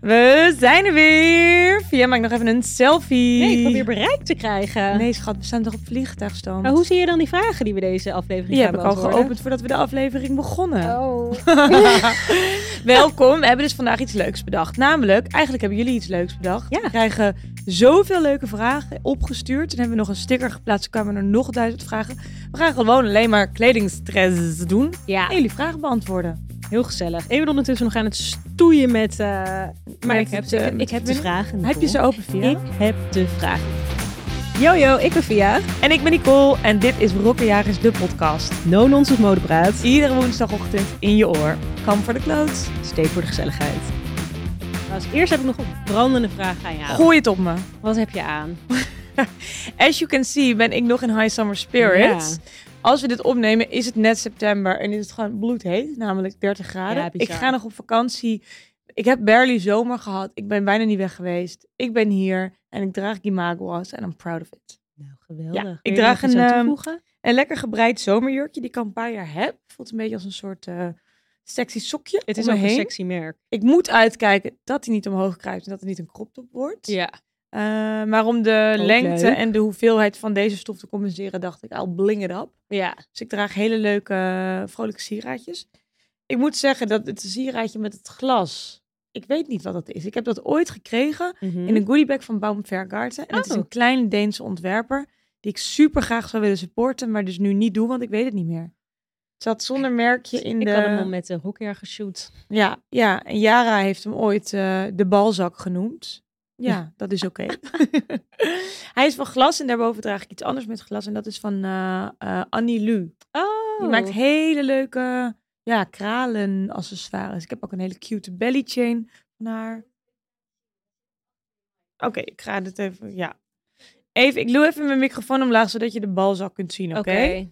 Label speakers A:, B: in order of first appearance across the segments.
A: We zijn er weer. Via maakt nog even een selfie.
B: Nee, ik probeer bereik te krijgen.
A: Nee, schat, we staan toch op vliegtuigstand.
B: Maar hoe zie je dan die vragen die we deze aflevering
A: die heb
B: hebben
A: ik al geopend voordat we de aflevering begonnen.
B: Oh.
A: Welkom. We hebben dus vandaag iets leuks bedacht. Namelijk, eigenlijk hebben jullie iets leuks bedacht.
B: Ja.
A: We krijgen zoveel leuke vragen opgestuurd. En hebben we nog een sticker geplaatst. Dan kwamen er nog duizend vragen. We gaan gewoon alleen maar kledingstress doen.
B: Ja,
A: En jullie vragen beantwoorden.
B: heel gezellig. Oh. Even ondertussen nog aan het stoeien met... eh, maar ik heb,
A: eh,
B: de,
A: met
B: ik heb
A: de
B: de vragen.
A: Heb je ze open, Via?
B: Ik heb de vragen. Yo, yo, ik ben Via.
A: En ik ben Nicole. En dit is Rokkenjagers, de podcast.
B: No Nonsense Modepraat.
A: Iedere woensdagochtend in je oor. Kam voor de kloot.
B: Steek voor de gezelligheid. Als eerst heb ik nog een brandende vraag aan jou.
A: Gooi het op me.
B: Wat heb je aan?
A: As you can see ben ik nog in high summer spirits.
B: Ja.
A: Als we dit opnemen is het net september en is het gewoon bloedheet, namelijk 30 graden.
B: Ja,
A: ik
B: bizar.
A: ga nog op vakantie. Ik heb barely zomer gehad. Ik ben bijna niet weg geweest. Ik ben hier en ik draag Gimagoas en I'm proud of it.
B: Nou, geweldig.
A: Ja, ik
B: Wil je
A: draag
B: nog iets
A: een,
B: aan
A: ehm,
B: toevoegen?
A: Een lekker gebreid zomerjurkje die ik al een paar jaar heb. Voelt een beetje als een soort eh, sexy sokje
B: Het is
A: om
B: ook
A: me
B: een
A: heen.
B: sexy merk.
A: Ik moet uitkijken dat hij niet omhoog kruipt en dat het niet een crop top wordt. Eh, maar om de
B: Ook
A: lengte
B: leuk.
A: en de hoeveelheid van deze stof te compenseren, dacht ik, al bling it up.
B: Ja.
A: Dus ik draag hele leuke, eh, vrolijke sieraadjes. Ik moet zeggen dat het sieraadje met het glas, ik weet niet wat dat is. Ik heb dat ooit gekregen in een goodiebag van Baum Vergarten. En het is
B: Mhm. Oh.
A: een kleine Deense ontwerper die ik super graag zou willen supporten, maar dus nu niet doe, want ik weet het niet meer. Het zat zonder merkje in
B: Dus Ik
A: de...
B: had hem al met de hoekjaar geshoot.
A: Ja, ja, en Yara heeft hem ooit eh, de balzak genoemd. Ja, dat is oké. Hij is van glas en daarboven draag ik iets anders met glas. En dat is van eh, eh, Annie Lu.
B: Oh.
A: Die maakt hele leuke ja, kralen accessoires. Ik heb ook een hele cute belly chain van haar. Oké, ik ga dit even, ja. Even, ik doe even mijn microfoon omlaag, zodat je de balzak kunt zien, oké?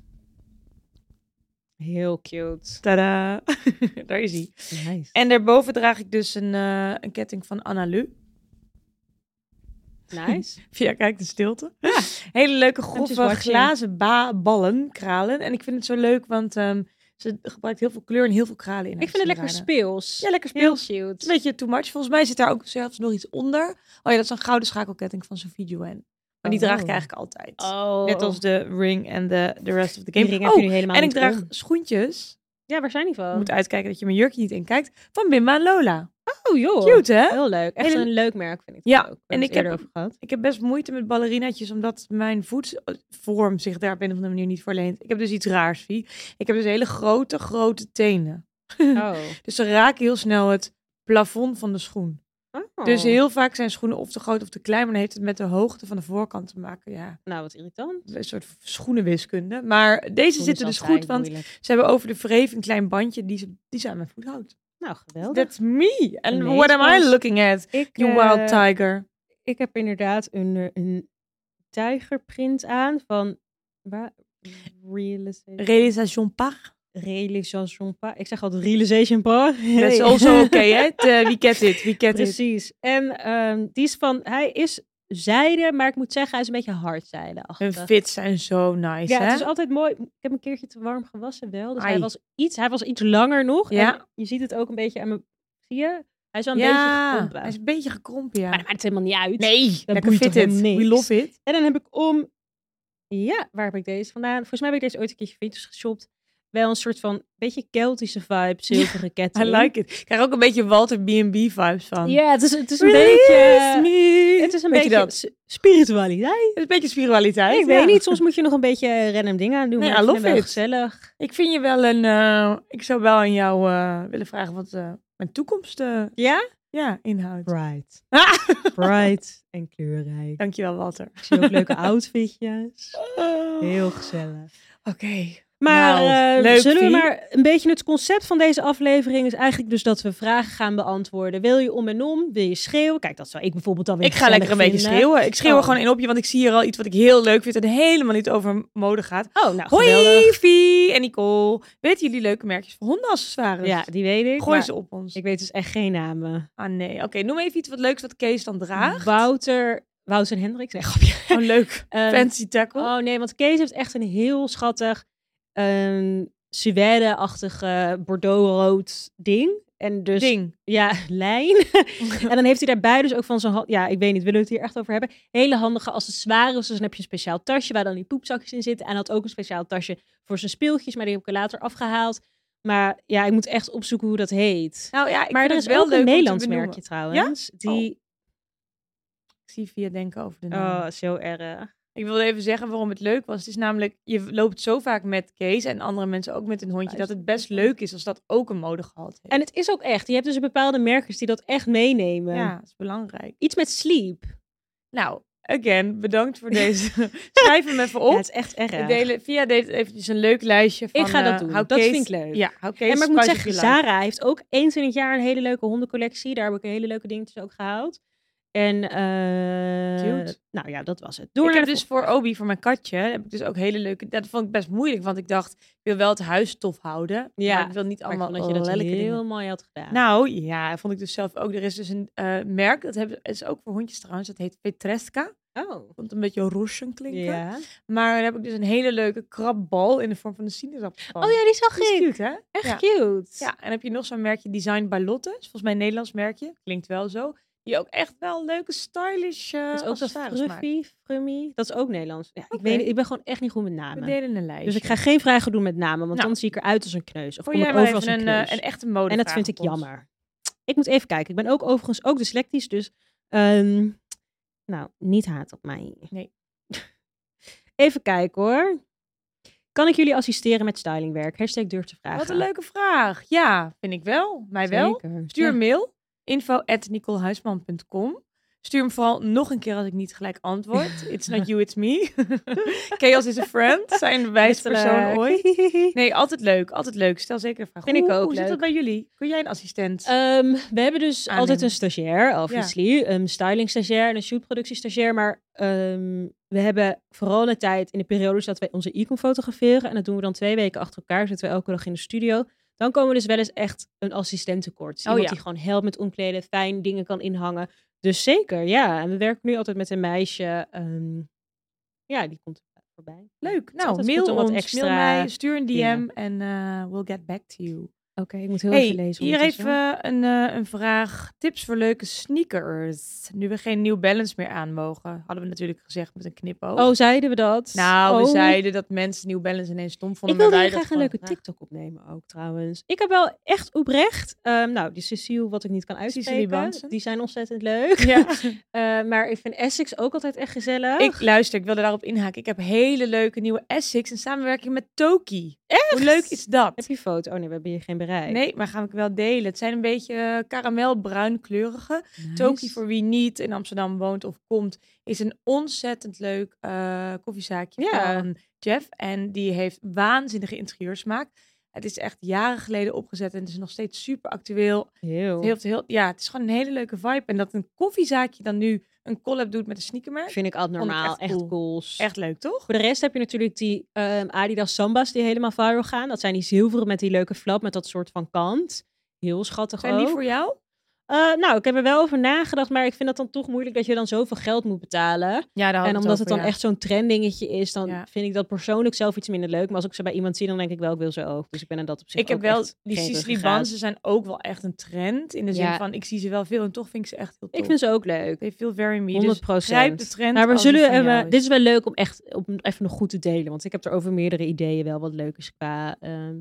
B: Heel cute.
A: Tada! Daar is hij.
B: Nice.
A: En daarboven draag ik dus een, eh, een ketting van Anna Lu.
B: nice.
A: Via kijk de stilte. Hele leuke grove
B: watching.
A: glazen ba- ballen, kralen. En ik vind het zo leuk, want ehm, ze gebruikt heel veel kleur en heel veel kralen in. haar
B: ik vind het lekker
A: sieraden.
B: speels.
A: Ja, lekker
B: Heel
A: speels. Het is
B: cute.
A: een beetje too much. Volgens mij zit daar ook zelfs nog iets onder. Oh ja, dat is een gouden schakelketting van Sophie Joanne. Maar die draag ik
B: Oh.
A: eigenlijk altijd.
B: Oh.
A: Net als de ring en de de rest of the
B: Die
A: game.
B: ring
A: oh,
B: heb je nu helemaal
A: en ik
B: niet Oh.
A: draag
B: om.
A: schoentjes.
B: Ja, waar zijn die
A: Je
B: van?
A: moet uitkijken dat je mijn jurkje niet inkijkt. Van Bimba en Lola.
B: Oh joh.
A: Cute, hè?
B: Heel leuk. Echt
A: Hele-
B: een leuk merk vind ik.
A: Ja,
B: ook. We hebben
A: en
B: het
A: ik heb-
B: eerder over gehad.
A: Ik heb best moeite met ballerinaatjes, omdat mijn voetvorm zich daar op een of andere manier niet voor leent. Ik heb dus iets raars, Vie. Ik heb dus hele grote, grote tenen.
B: Oh.
A: Dus ze raken heel snel het plafond van de schoen.
B: Oh.
A: Dus heel vaak zijn schoenen of te groot of te klein, maar dan heeft het met de hoogte van de voorkant te maken. Ja,
B: Nou, wat irritant.
A: een soort schoenenwiskunde. Maar deze
B: Schoenen
A: zitten
B: zal
A: dus
B: zijn
A: goed, want
B: moeilijk.
A: ze hebben over de wreef een klein bandje die ze, die ze aan mijn voet houdt.
B: Nou, geweldig.
A: That's me. And
B: Nee,
A: what am I
B: schat.
A: looking at?
B: Ik,
A: You
B: eh,
A: wild tiger.
B: ik heb inderdaad een, eh, een tijgerprint aan van... Waar? Realisation.
A: Realisation par.
B: Realisation pas. Ik zeg altijd realisation pas.
A: That's
B: Hey.
A: also okay, hè? Het, eh, we get it, we get it.
B: Precies. En ehm, die is van, hij is zijde, maar ik moet zeggen, hij is een beetje hard zijde.
A: Hun fits zijn zo nice,
B: Ja,
A: hè?
B: het is altijd mooi. Ik heb hem een keertje te warm gewassen wel. Dus
A: Ai.
B: hij was, iets, hij was iets langer nog.
A: Ja.
B: En je ziet het ook een beetje aan mijn... Zie je? Hij is wel een beetje
A: ja,
B: gekrompen.
A: hij is een beetje gekrompen, ja.
B: Maar dat maakt het helemaal niet uit.
A: nee, lekker
B: boeit
A: fit
B: toch
A: it.
B: helemaal
A: We
B: niks?
A: love it.
B: En dan heb ik om... Ja, waar heb ik deze vandaan? Volgens mij heb ik deze ooit een keertje Vintage geshopt. Wel een soort van beetje Keltische vibe, zilveren
A: I
B: ketting.
A: like it. Ik krijg ook een beetje Walter B&B vibes van.
B: Ja, het is, het is een
A: Release
B: beetje...
A: me.
B: Het is een
A: Weet je
B: beetje
A: dat?
B: s- spiritualiteit.
A: Het is een beetje spiritualiteit.
B: ik
A: ja.
B: weet niet, soms moet je nog een beetje random dingen aan doen.
A: Nee,
B: maar
A: I
B: ik vind
A: love
B: hem wel
A: it.
B: gezellig.
A: Ik vind je wel een... eh, ik zou wel aan jou eh, willen vragen wat eh, mijn toekomst eh,
B: Ja?
A: ja, inhoudt.
B: Bright.
A: Ah!
B: Bright en kleurrijk.
A: Dankjewel, Walter.
B: Ik zie ook leuke outfitjes. gezellig.
A: Oké.
B: Maar
A: Nou,
B: eh,
A: leuk,
B: zullen we
A: Fie.
B: maar een beetje het concept van deze aflevering is eigenlijk dus dat we vragen gaan beantwoorden. Wil je om en om? Wil je schreeuwen? Kijk, dat zou ik bijvoorbeeld dan weer
A: Ik ga lekker een
B: gezellig
A: beetje
B: vinden.
A: schreeuwen. Ik schreeuw er
B: Oh.
A: gewoon in op je, want ik zie hier al iets wat ik heel leuk vind en helemaal niet over mode gaat.
B: Oh, nou geweldig.
A: Hoi, Fie en Nicole. Weten jullie leuke merkjes voor hondenaccessoires?
B: Ja, die weet ik.
A: Gooi
B: maar
A: ze op ons.
B: Ik weet dus echt geen namen.
A: Ah nee, oké. noem even iets wat leuks wat Kees dan draagt.
B: Wouter, Wouter en Hendrik. Nee, grapje.
A: Gewoon leuk.
B: Ehm,
A: Fancy tackle.
B: Oh nee, want Kees heeft echt een heel schattig ehm suède-achtig eh, bordeaux-rood ding. En dus,
A: Ding.
B: ja, lijn. en dan heeft hij daarbij dus ook van zo'n, hand- ja, ik weet niet, willen we het hier echt over hebben? Hele handige accessoires. Dus dan heb je een speciaal tasje waar dan die poepzakjes in zitten. En hij had ook een speciaal tasje voor zijn speeltjes, maar die heb ik er later afgehaald. Maar ja, ik moet echt opzoeken hoe dat heet.
A: Nou ja, ik
B: maar
A: vind
B: er
A: het
B: is
A: wel
B: wel ook
A: leuk
B: een
A: om te
B: Nederlands
A: benoemen. Oh,
B: merkje trouwens. Die,
A: Ik zie via denken over de naam.
B: oh, zo erg.
A: Ik wilde even zeggen waarom het leuk was. Het is namelijk, je loopt zo vaak met Kees en andere mensen ook met een hondje, dat het best leuk is als dat ook een modegehalt heeft.
B: En het is ook echt. Je hebt dus bepaalde merkers die dat echt meenemen.
A: ja, dat is belangrijk.
B: Iets met sleep.
A: Nou, again, bedankt voor deze. Schrijf hem even op.
B: Ja, het is echt erg.
A: We delen via deed eventjes een leuk lijstje van...
B: Ik ga dat
A: eh,
B: doen.
A: hou
B: Dat
A: Kees-
B: vind ik leuk.
A: Ja, hou Kees
B: en maar ik moet
A: spicy
B: zeggen,
A: if you like.
B: Zara heeft ook eens in het jaar een hele leuke hondencollectie. Daar heb ik hele leuke dingetjes ook gehaald. En eh,
A: Cute.
B: nou ja, dat was het. Door
A: ik
B: naar
A: heb
B: de
A: dus
B: volgende.
A: voor Obi, voor mijn katje, heb ik dus ook hele leuke... Dat vond ik best moeilijk, want ik dacht, ik wil wel het huis tof houden.
B: Ja,
A: maar ik wil niet
B: Maar ik
A: allemaal oh,
B: vond dat je dat
A: lelijke
B: heel
A: dingen.
B: mooi had gedaan.
A: Nou ja, vond ik dus zelf ook. Er is dus een eh, merk, dat hebben, is ook voor hondjes trouwens, dat heet Petreska.
B: oh.
A: Vond een beetje roesje klinken.
B: Ja.
A: Maar daar heb ik dus een hele leuke krabbal in de vorm van een sinaasappel. van.
B: Oh ja, die zag
A: Dat is
B: ik.
A: cute, hè?
B: Echt
A: Ja.
B: cute.
A: Ja, en heb je nog zo'n merkje Design by Lotte. Is Volgens mij een Nederlands merkje. Klinkt wel zo. Die ook echt wel leuke, stylish eh
B: Dat is ook dat
A: accessoires maakt.
B: fruffy, frummy. Dat is ook Nederlands. Ja, ik,
A: Oké.
B: weet, niet, ik ben gewoon echt niet goed met
A: We
B: namen.
A: delen een lijstje.
B: Dus ik ga geen vragen doen met namen, want
A: Nou.
B: dan zie ik eruit als een kneus. Of
A: voor
B: kom
A: jij
B: ik
A: maar
B: over als
A: even
B: een
A: een,
B: kneus.
A: eh, een echte mode
B: en dat
A: vraag
B: vind ik
A: op ons.
B: jammer. Ik moet even kijken. Ik ben ook overigens ook dyslectisch, dus ehm, nou, niet haat op mij.
A: Nee.
B: even kijken hoor. Kan ik jullie assisteren met stylingwerk? Hashtag durf te vragen.
A: Wat een leuke vraag. Ja, vind ik wel. Mij wel.
B: Zeker.
A: Stuur
B: Ja.
A: mail. info.nicolehuisman.com Stuur hem vooral nog een keer als ik niet gelijk antwoord. It's not you, it's me. Chaos is a friend. Zijn wijs persoon
B: Letterlijk.
A: ooit. Nee, altijd leuk. Altijd leuk. Stel zeker een vraag.
B: Vind ik
A: hoe,
B: ook
A: Hoe zit dat
B: leuk.
A: bij jullie? Kun jij een assistent?
B: Ehm, we hebben dus
A: Aannemen.
B: altijd een stagiair, obviously. Een styling stagiair en een shootproductie stagiair. Maar ehm, we hebben vooral de tijd in de periodes dat wij onze e-com fotograferen. En dat doen we dan twee weken achter elkaar. Zitten we elke dag in de studio. Dan komen we dus wel eens echt een assistent tekort. Dus
A: Oh,
B: Iemand
A: ja.
B: die gewoon helpt met omkleden, fijn dingen kan inhangen. Dus zeker, ja. En we werken nu altijd met een meisje. ehm, ja, die komt voorbij.
A: leuk.
B: Het is
A: Nou,
B: altijd
A: mail
B: goed om wat
A: ons,
B: extra-
A: mail mij, stuur een DM
B: dingen.
A: en eh, we'll get back to you.
B: Oké, ik moet heel even
A: Hey,
B: lezen.
A: hier
B: ondertussen.
A: even een, eh, een vraag. Tips voor leuke sneakers. Nu we geen New Balance meer aan mogen, hadden we natuurlijk gezegd met een knipoog.
B: Oh, zeiden we dat?
A: nou, we
B: Oh.
A: zeiden dat mensen New Balance ineens stom vonden.
B: Ik wilde
A: maar
B: hier
A: wij dat
B: graag een
A: gewoon
B: leuke
A: graag-
B: TikTok opnemen ook trouwens. Ik heb wel echt oprecht, ehm, nou die Cecile wat ik niet kan
A: Bansen.
B: uitspreken, die zijn ontzettend leuk.
A: Ja.
B: Eh, maar ik vind Essex ook altijd echt gezellig.
A: ik luister, ik wilde daarop inhaken. Ik heb hele leuke nieuwe Essex in samenwerking met Toki. Echt? Hoe leuk is dat?
B: Heb je foto? Oh nee, we hebben hier geen bereik.
A: Nee, maar gaan we wel delen. Het zijn een beetje eh, karamelbruinkleurige. Toki, voor wie niet in Amsterdam woont of komt, is een ontzettend leuk eh, koffiezaakje
B: Ja.
A: van Jeff. En die heeft waanzinnige interieursmaak. Het is echt jaren geleden opgezet en het is nog steeds super actueel.
B: Heel.
A: Het, heeft heel, ja, het is gewoon een hele leuke vibe. En dat een koffiezaakje dan nu een collab doet met een sneakermerk.
B: Vind ik altijd
A: Vond ik
B: normaal.
A: echt
B: echt
A: cool.
B: cool.
A: Echt leuk, toch?
B: Voor de rest heb je natuurlijk die ehm, Adidas Sambas die helemaal viral gaan. Dat zijn die zilveren met die leuke flap met dat soort van kant. Heel schattig
A: Zijn
B: ook.
A: die voor jou?
B: Eh, nou, ik heb er wel over nagedacht, maar ik vind dat dan toch moeilijk dat je dan zoveel geld moet betalen.
A: Ja, daar
B: En omdat het dan echt zo'n trendingetje is, dan
A: Ja.
B: vind ik dat persoonlijk zelf iets minder leuk. Maar als ik ze bij iemand zie, dan denk ik wel, ik wil ze ook. Dus ik ben er dat op zich
A: Ik heb
B: ook
A: wel,
B: echt
A: die
B: geen
A: Sicily
B: ruggengraat.
A: Bansen zijn ook wel echt een trend. In de zin
B: Ja.
A: van, ik zie ze wel veel en toch vind ik ze echt heel tof.
B: Ik vind ze ook leuk.
A: They feel very me.
B: 100
A: Dus grijp de trend.
B: Maar we
A: als het
B: zullen,
A: van jou
B: even-
A: is.
B: dit is wel leuk om echt om even nog goed te delen. Want ik heb er over meerdere ideeën wel wat leuk is qua, ehm,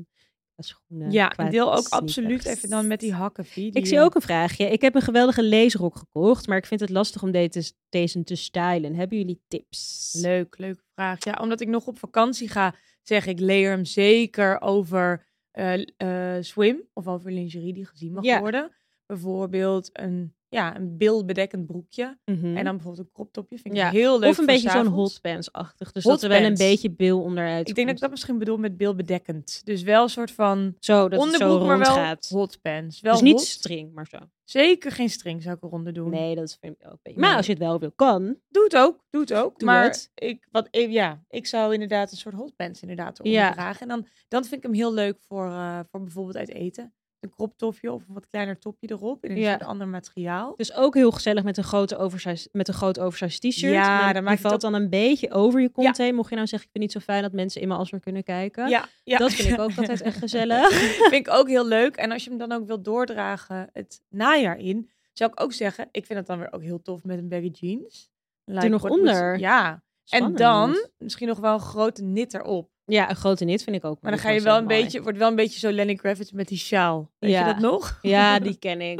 B: qua schoenen.
A: Ja,
B: qua
A: en deel ook
B: sneakers.
A: absoluut even dan met die hakken. Vie, die,
B: Ik zie
A: eh,
B: ook een vraagje. Ik heb een geweldige laserrok gekocht, maar ik vind het lastig om deze, deze te stylen. Hebben jullie tips?
A: Leuk, leuke vraag. Ja, omdat ik nog op vakantie ga, zeg ik leer hem zeker over eh, eh, swim of over lingerie die gezien mag
B: Ja.
A: worden. Bijvoorbeeld een, ja, een beeldbedekkend broekje.
B: Mhm.
A: En dan bijvoorbeeld een crop topje. Vind ik
B: Ja,
A: heel leuk.
B: Of een
A: voor
B: beetje zo'n
A: s'avonds.
B: hotpants-achtig. Dus
A: Hot
B: dat er wel een
A: pants.
B: beetje bil onderuit
A: Ik denk dat ik
B: komt.
A: dat misschien bedoel met beeldbedekkend. Dus wel een soort van
B: zo, dat het zo
A: onderbroek, maar
B: rond
A: wel
B: gaat.
A: hotpants. Wel
B: dus niet
A: hot.
B: string, maar zo.
A: Zeker geen string zou ik eronder doen.
B: Nee, dat vind ik ook een beetje...
A: Nee.
B: Maar als je het wel wil, kan.
A: Doe het ook, doe het ook.
B: Doe
A: maar
B: het.
A: Ik, wat, ik, ja, ik zou inderdaad een soort hotpants inderdaad eronder
B: Ja.
A: dragen. En dan, dan vind ik hem heel leuk voor, eh, voor bijvoorbeeld uit eten. een kroptopje of een wat kleiner topje erop. In een
B: Ja.
A: soort ander materiaal.
B: Dus ook heel gezellig met een grote oversized, met een groot oversized t-shirt.
A: Ja,
B: Maar
A: dan
B: die
A: maakt het
B: valt
A: ook-
B: dan een beetje over je kont heen. Mocht je nou zeggen, ik vind het niet zo fijn dat mensen in mijn asser kunnen kijken.
A: Ja, ja.
B: Dat vind ik ook altijd echt gezellig.
A: vind ik ook heel leuk. En als je hem dan ook wilt doordragen het najaar in, zou ik ook zeggen, ik vind het dan weer ook heel tof met een baggy jeans. Like,
B: nog
A: what would-
B: onder.
A: Ja.
B: Spannend.
A: En dan misschien nog wel een grote nit erop.
B: Ja, een grote knit vind ik ook.
A: Maar dan
B: niet
A: ga je
B: zo
A: wel een
B: mooi.
A: beetje, wordt wel een beetje zo Lenny Kravitz met die sjaal. Weet
B: Ja.
A: je dat nog?
B: Ja, die ken ik.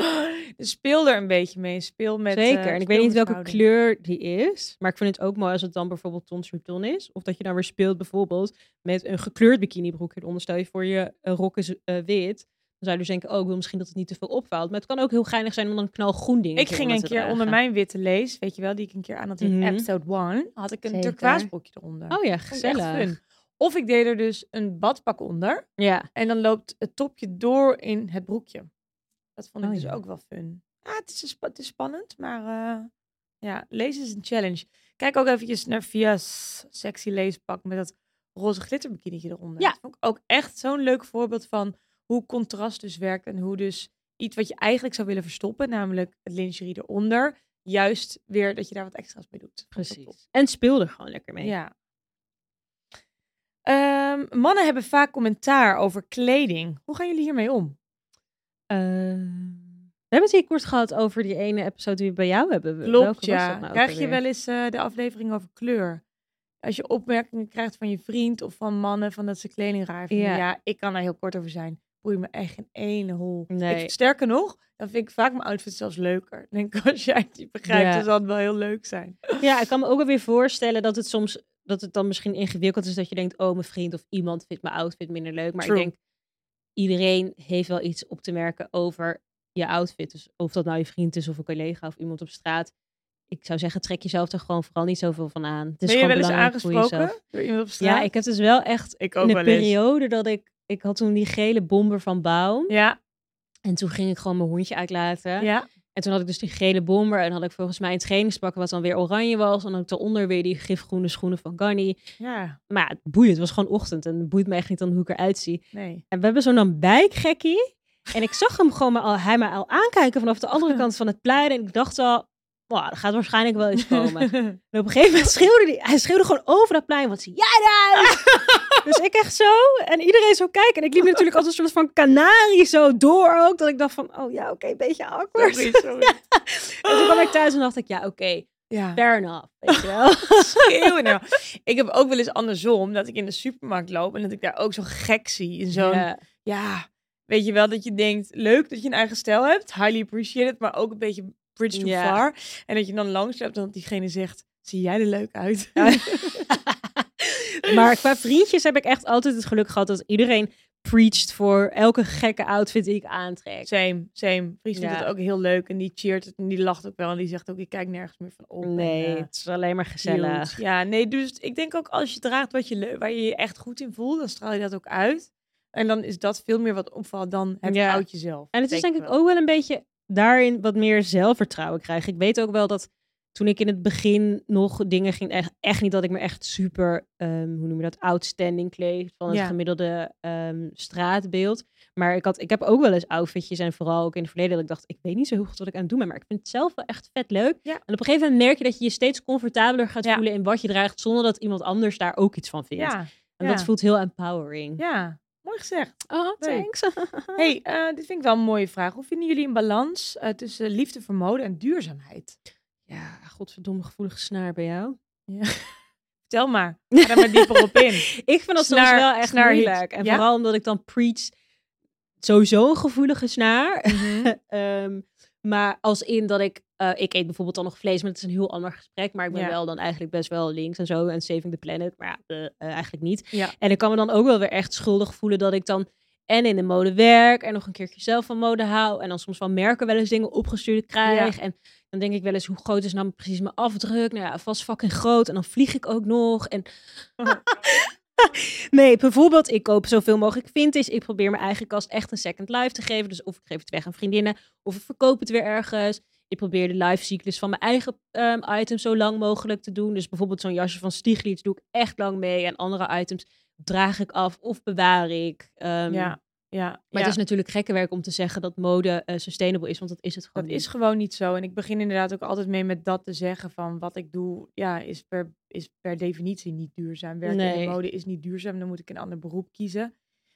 A: Dus speel er een beetje mee. Speel met. eh,
B: Zeker. en ik
A: speel
B: weet niet
A: met
B: welke
A: verhouding.
B: kleur die is. Maar ik vind het ook mooi als het dan bijvoorbeeld ton sur ton is. Of dat je dan weer speelt bijvoorbeeld met een gekleurd bikinibroek. Hieronder stel je voor je eh, rok is eh, wit. Dan zou je dus denken, oh, ik wil misschien dat het niet te veel opvalt. Maar het kan ook heel geinig zijn om dan een knalgroen ding
A: Ik ging een keer onder mijn witte lees, weet je wel, die ik een keer aan had in
B: Mhm.
A: episode 1, had ik een
B: Zeker.
A: turquoise broekje eronder.
B: Oh ja,
A: Vond ik echt
B: gezellig.
A: fun. Of ik deed er dus een badpak onder.
B: Ja.
A: En dan loopt het topje door in het broekje. Dat vond ik
B: Oh,
A: dus
B: ja.
A: ook wel fun. Ah, het, is, een spa- het is spannend, maar eh, ja, lezen is een challenge. Kijk ook eventjes naar Via's sexy leespak met dat roze glitterbikinietje eronder.
B: Ja.
A: Dat vond ik ook echt zo'n leuk voorbeeld van hoe contrast dus werkt. En hoe dus iets wat je eigenlijk zou willen verstoppen, namelijk het lingerie eronder, juist weer dat je daar wat extra's mee doet. Vond ik ook top.
B: Precies. En speel er gewoon lekker mee.
A: Ja. Ehm, mannen hebben vaak commentaar over kleding. Hoe gaan jullie hiermee om?
B: Eh, we hebben het hier kort gehad over die ene episode die we bij jou hebben. Welke was
A: Klopt,
B: dat
A: ja.
B: nou ook
A: Krijg je
B: alweer?
A: wel eens eh, de aflevering over kleur? Als je opmerkingen krijgt van je vriend of van mannen van dat ze kleding raar vinden.
B: Ja.
A: Ja, ik kan daar heel kort over zijn. Boeit me echt geen ene hol.
B: Nee.
A: Ik, sterker nog, dan vind ik vaak mijn outfit zelfs leuker. Ik Denk als jij het niet begrijpt,
B: Ja.
A: dan zal het wel heel leuk zijn.
B: Ja, ik kan me ook wel weer voorstellen dat het soms dat het dan misschien ingewikkeld is dat je denkt, oh, mijn vriend of iemand vindt mijn outfit minder leuk. Maar
A: True.
B: ik denk, iedereen heeft wel iets op te merken over je outfit. Dus of dat nou je vriend is of een collega of iemand op straat. Ik zou zeggen, trek jezelf er gewoon vooral niet zoveel van aan. Het is
A: ben je wel
B: gewoon
A: eens
B: belangrijk hoe je jezelf-
A: aangesproken door iemand op straat?
B: Ja, ik heb dus wel echt
A: ik
B: in
A: ook
B: de
A: wel eens.
B: periode dat ik... Ik had toen die gele bomber van Baum.
A: Ja,
B: En toen ging ik gewoon mijn hondje uitlaten.
A: ja.
B: En toen had ik dus die gele bomber en had ik volgens mij een trainingspak wat dan weer oranje was. En dan daaronder weer die gifgroene schoenen van Garni.
A: ja.
B: Maar ja, het boeit, het was gewoon ochtend en het boeit me echt niet dan hoe ik eruit zie.
A: Nee.
B: En we hebben zo'n dan bijkgekkie. En ik zag hem gewoon maar al, hij me al aankijken vanaf de andere kant van het plein. En ik dacht al, wow, dat gaat waarschijnlijk wel iets komen. En op een gegeven moment schreeuwde hij, hij schreeuwde gewoon over dat plein, wat zie jij daar? dus ik echt zo, en iedereen zo kijken. En ik liep natuurlijk als een soort van kanarie zo door ook, dat ik dacht van, oh ja, oké, een beetje awkward.
A: Sorry, sorry.
B: En toen kwam ik thuis en dacht ik, ja, oké,
A: Ja.
B: fair enough, weet je wel.
A: schreeuwen nou. Ik heb ook wel eens andersom dat ik in de supermarkt loop en dat ik daar ook zo'n gek zie. In zo'n, ja.
B: Ja.
A: weet je wel, dat je denkt, leuk dat je een eigen stijl hebt. Highly appreciated, maar ook een beetje bridge too
B: Ja.
A: far. En dat je dan langs loopt en dat diegene zegt, zie jij er leuk uit?
B: Maar qua vriendjes heb ik echt altijd het geluk gehad dat iedereen preached voor elke gekke outfit die ik aantrek.
A: Same, same. Fries vindt
B: Ja.
A: het ook heel leuk en die cheert het en die lacht ook wel. En die zegt ook, ik kijk nergens meer van op. en,
B: Nee,
A: eh,
B: het is alleen maar
A: Cute.
B: gezellig.
A: Ja, nee, dus ik denk ook als je draagt wat je leu- waar je je echt goed in voelt, dan straal je dat ook uit. En dan is dat veel meer wat opvalt dan het
B: Ja.
A: oudje zelf.
B: En het is denk ik
A: wel.
B: ook wel een beetje daarin wat meer zelfvertrouwen krijgen. Ik weet ook wel dat toen ik in het begin nog dingen ging, echt, echt niet dat ik me echt super, ehm, hoe noem je dat, outstanding kleed van het
A: Ja.
B: gemiddelde ehm, straatbeeld. Maar ik, had, ik heb ook wel eens outfitjes en vooral ook in het verleden dat ik dacht, ik weet niet zo heel goed wat ik aan het doen ben, maar ik vind het zelf wel echt vet leuk.
A: Ja.
B: En op een gegeven moment merk je dat je je steeds comfortabeler gaat
A: Ja.
B: voelen in wat je draagt, zonder dat iemand anders daar ook iets van vindt.
A: Ja,
B: En
A: ja.
B: dat voelt heel empowering.
A: ja. Mooi gezegd.
B: Oh,
A: Leuk.
B: thanks.
A: hey, eh, dit vind ik wel een mooie vraag. Hoe vinden jullie een balans eh, tussen liefde voor mode en duurzaamheid?
B: Ja, godverdomme gevoelige snaar bij jou.
A: Vertel maar. Ga daar maar dieper op in.
B: Ik vind dat soms
A: Snaar-
B: wel echt
A: snaar heat.
B: moeilijk. En
A: Ja?
B: vooral omdat ik dan preach sowieso een gevoelige snaar.
A: Mhm.
B: Ehm, maar als in dat ik... eh, ik eet bijvoorbeeld dan nog vlees, maar dat is een heel ander gesprek. Maar ik ben
A: Ja.
B: wel dan eigenlijk best wel links en zo. En saving the planet, maar ja, eh, eh, eigenlijk niet.
A: Ja.
B: En ik kan me dan ook wel weer echt schuldig voelen dat ik dan... En in de mode werk en nog een keertje zelf van mode hou. En dan soms van merken wel eens dingen opgestuurd krijg. En dan denk ik wel eens, hoe groot is nou precies mijn afdruk? Nou ja, vast fucking groot. En dan vlieg ik ook nog. En Nee, bijvoorbeeld, ik koop zoveel mogelijk vintage. Ik probeer mijn eigen kast echt een second life te geven. Dus of ik geef het weg aan vriendinnen, of ik verkoop het weer ergens. Ik probeer de lifecyclus van mijn eigen ehm items zo lang mogelijk te doen. Dus bijvoorbeeld zo'n jasje van Stieglitz doe ik echt lang mee. En andere items draag ik af of bewaar ik. Ehm,
A: ja. ja.
B: Maar
A: ja.
B: het is natuurlijk gekke werk om te zeggen dat mode eh, sustainable is, want dat is het gewoon
A: Dat
B: niet.
A: is gewoon niet zo. En ik begin inderdaad ook altijd mee met dat te zeggen van wat ik doe, ja, is per, is per definitie niet duurzaam. Werken in
B: Nee.
A: de mode is niet duurzaam, dan moet ik een ander beroep kiezen.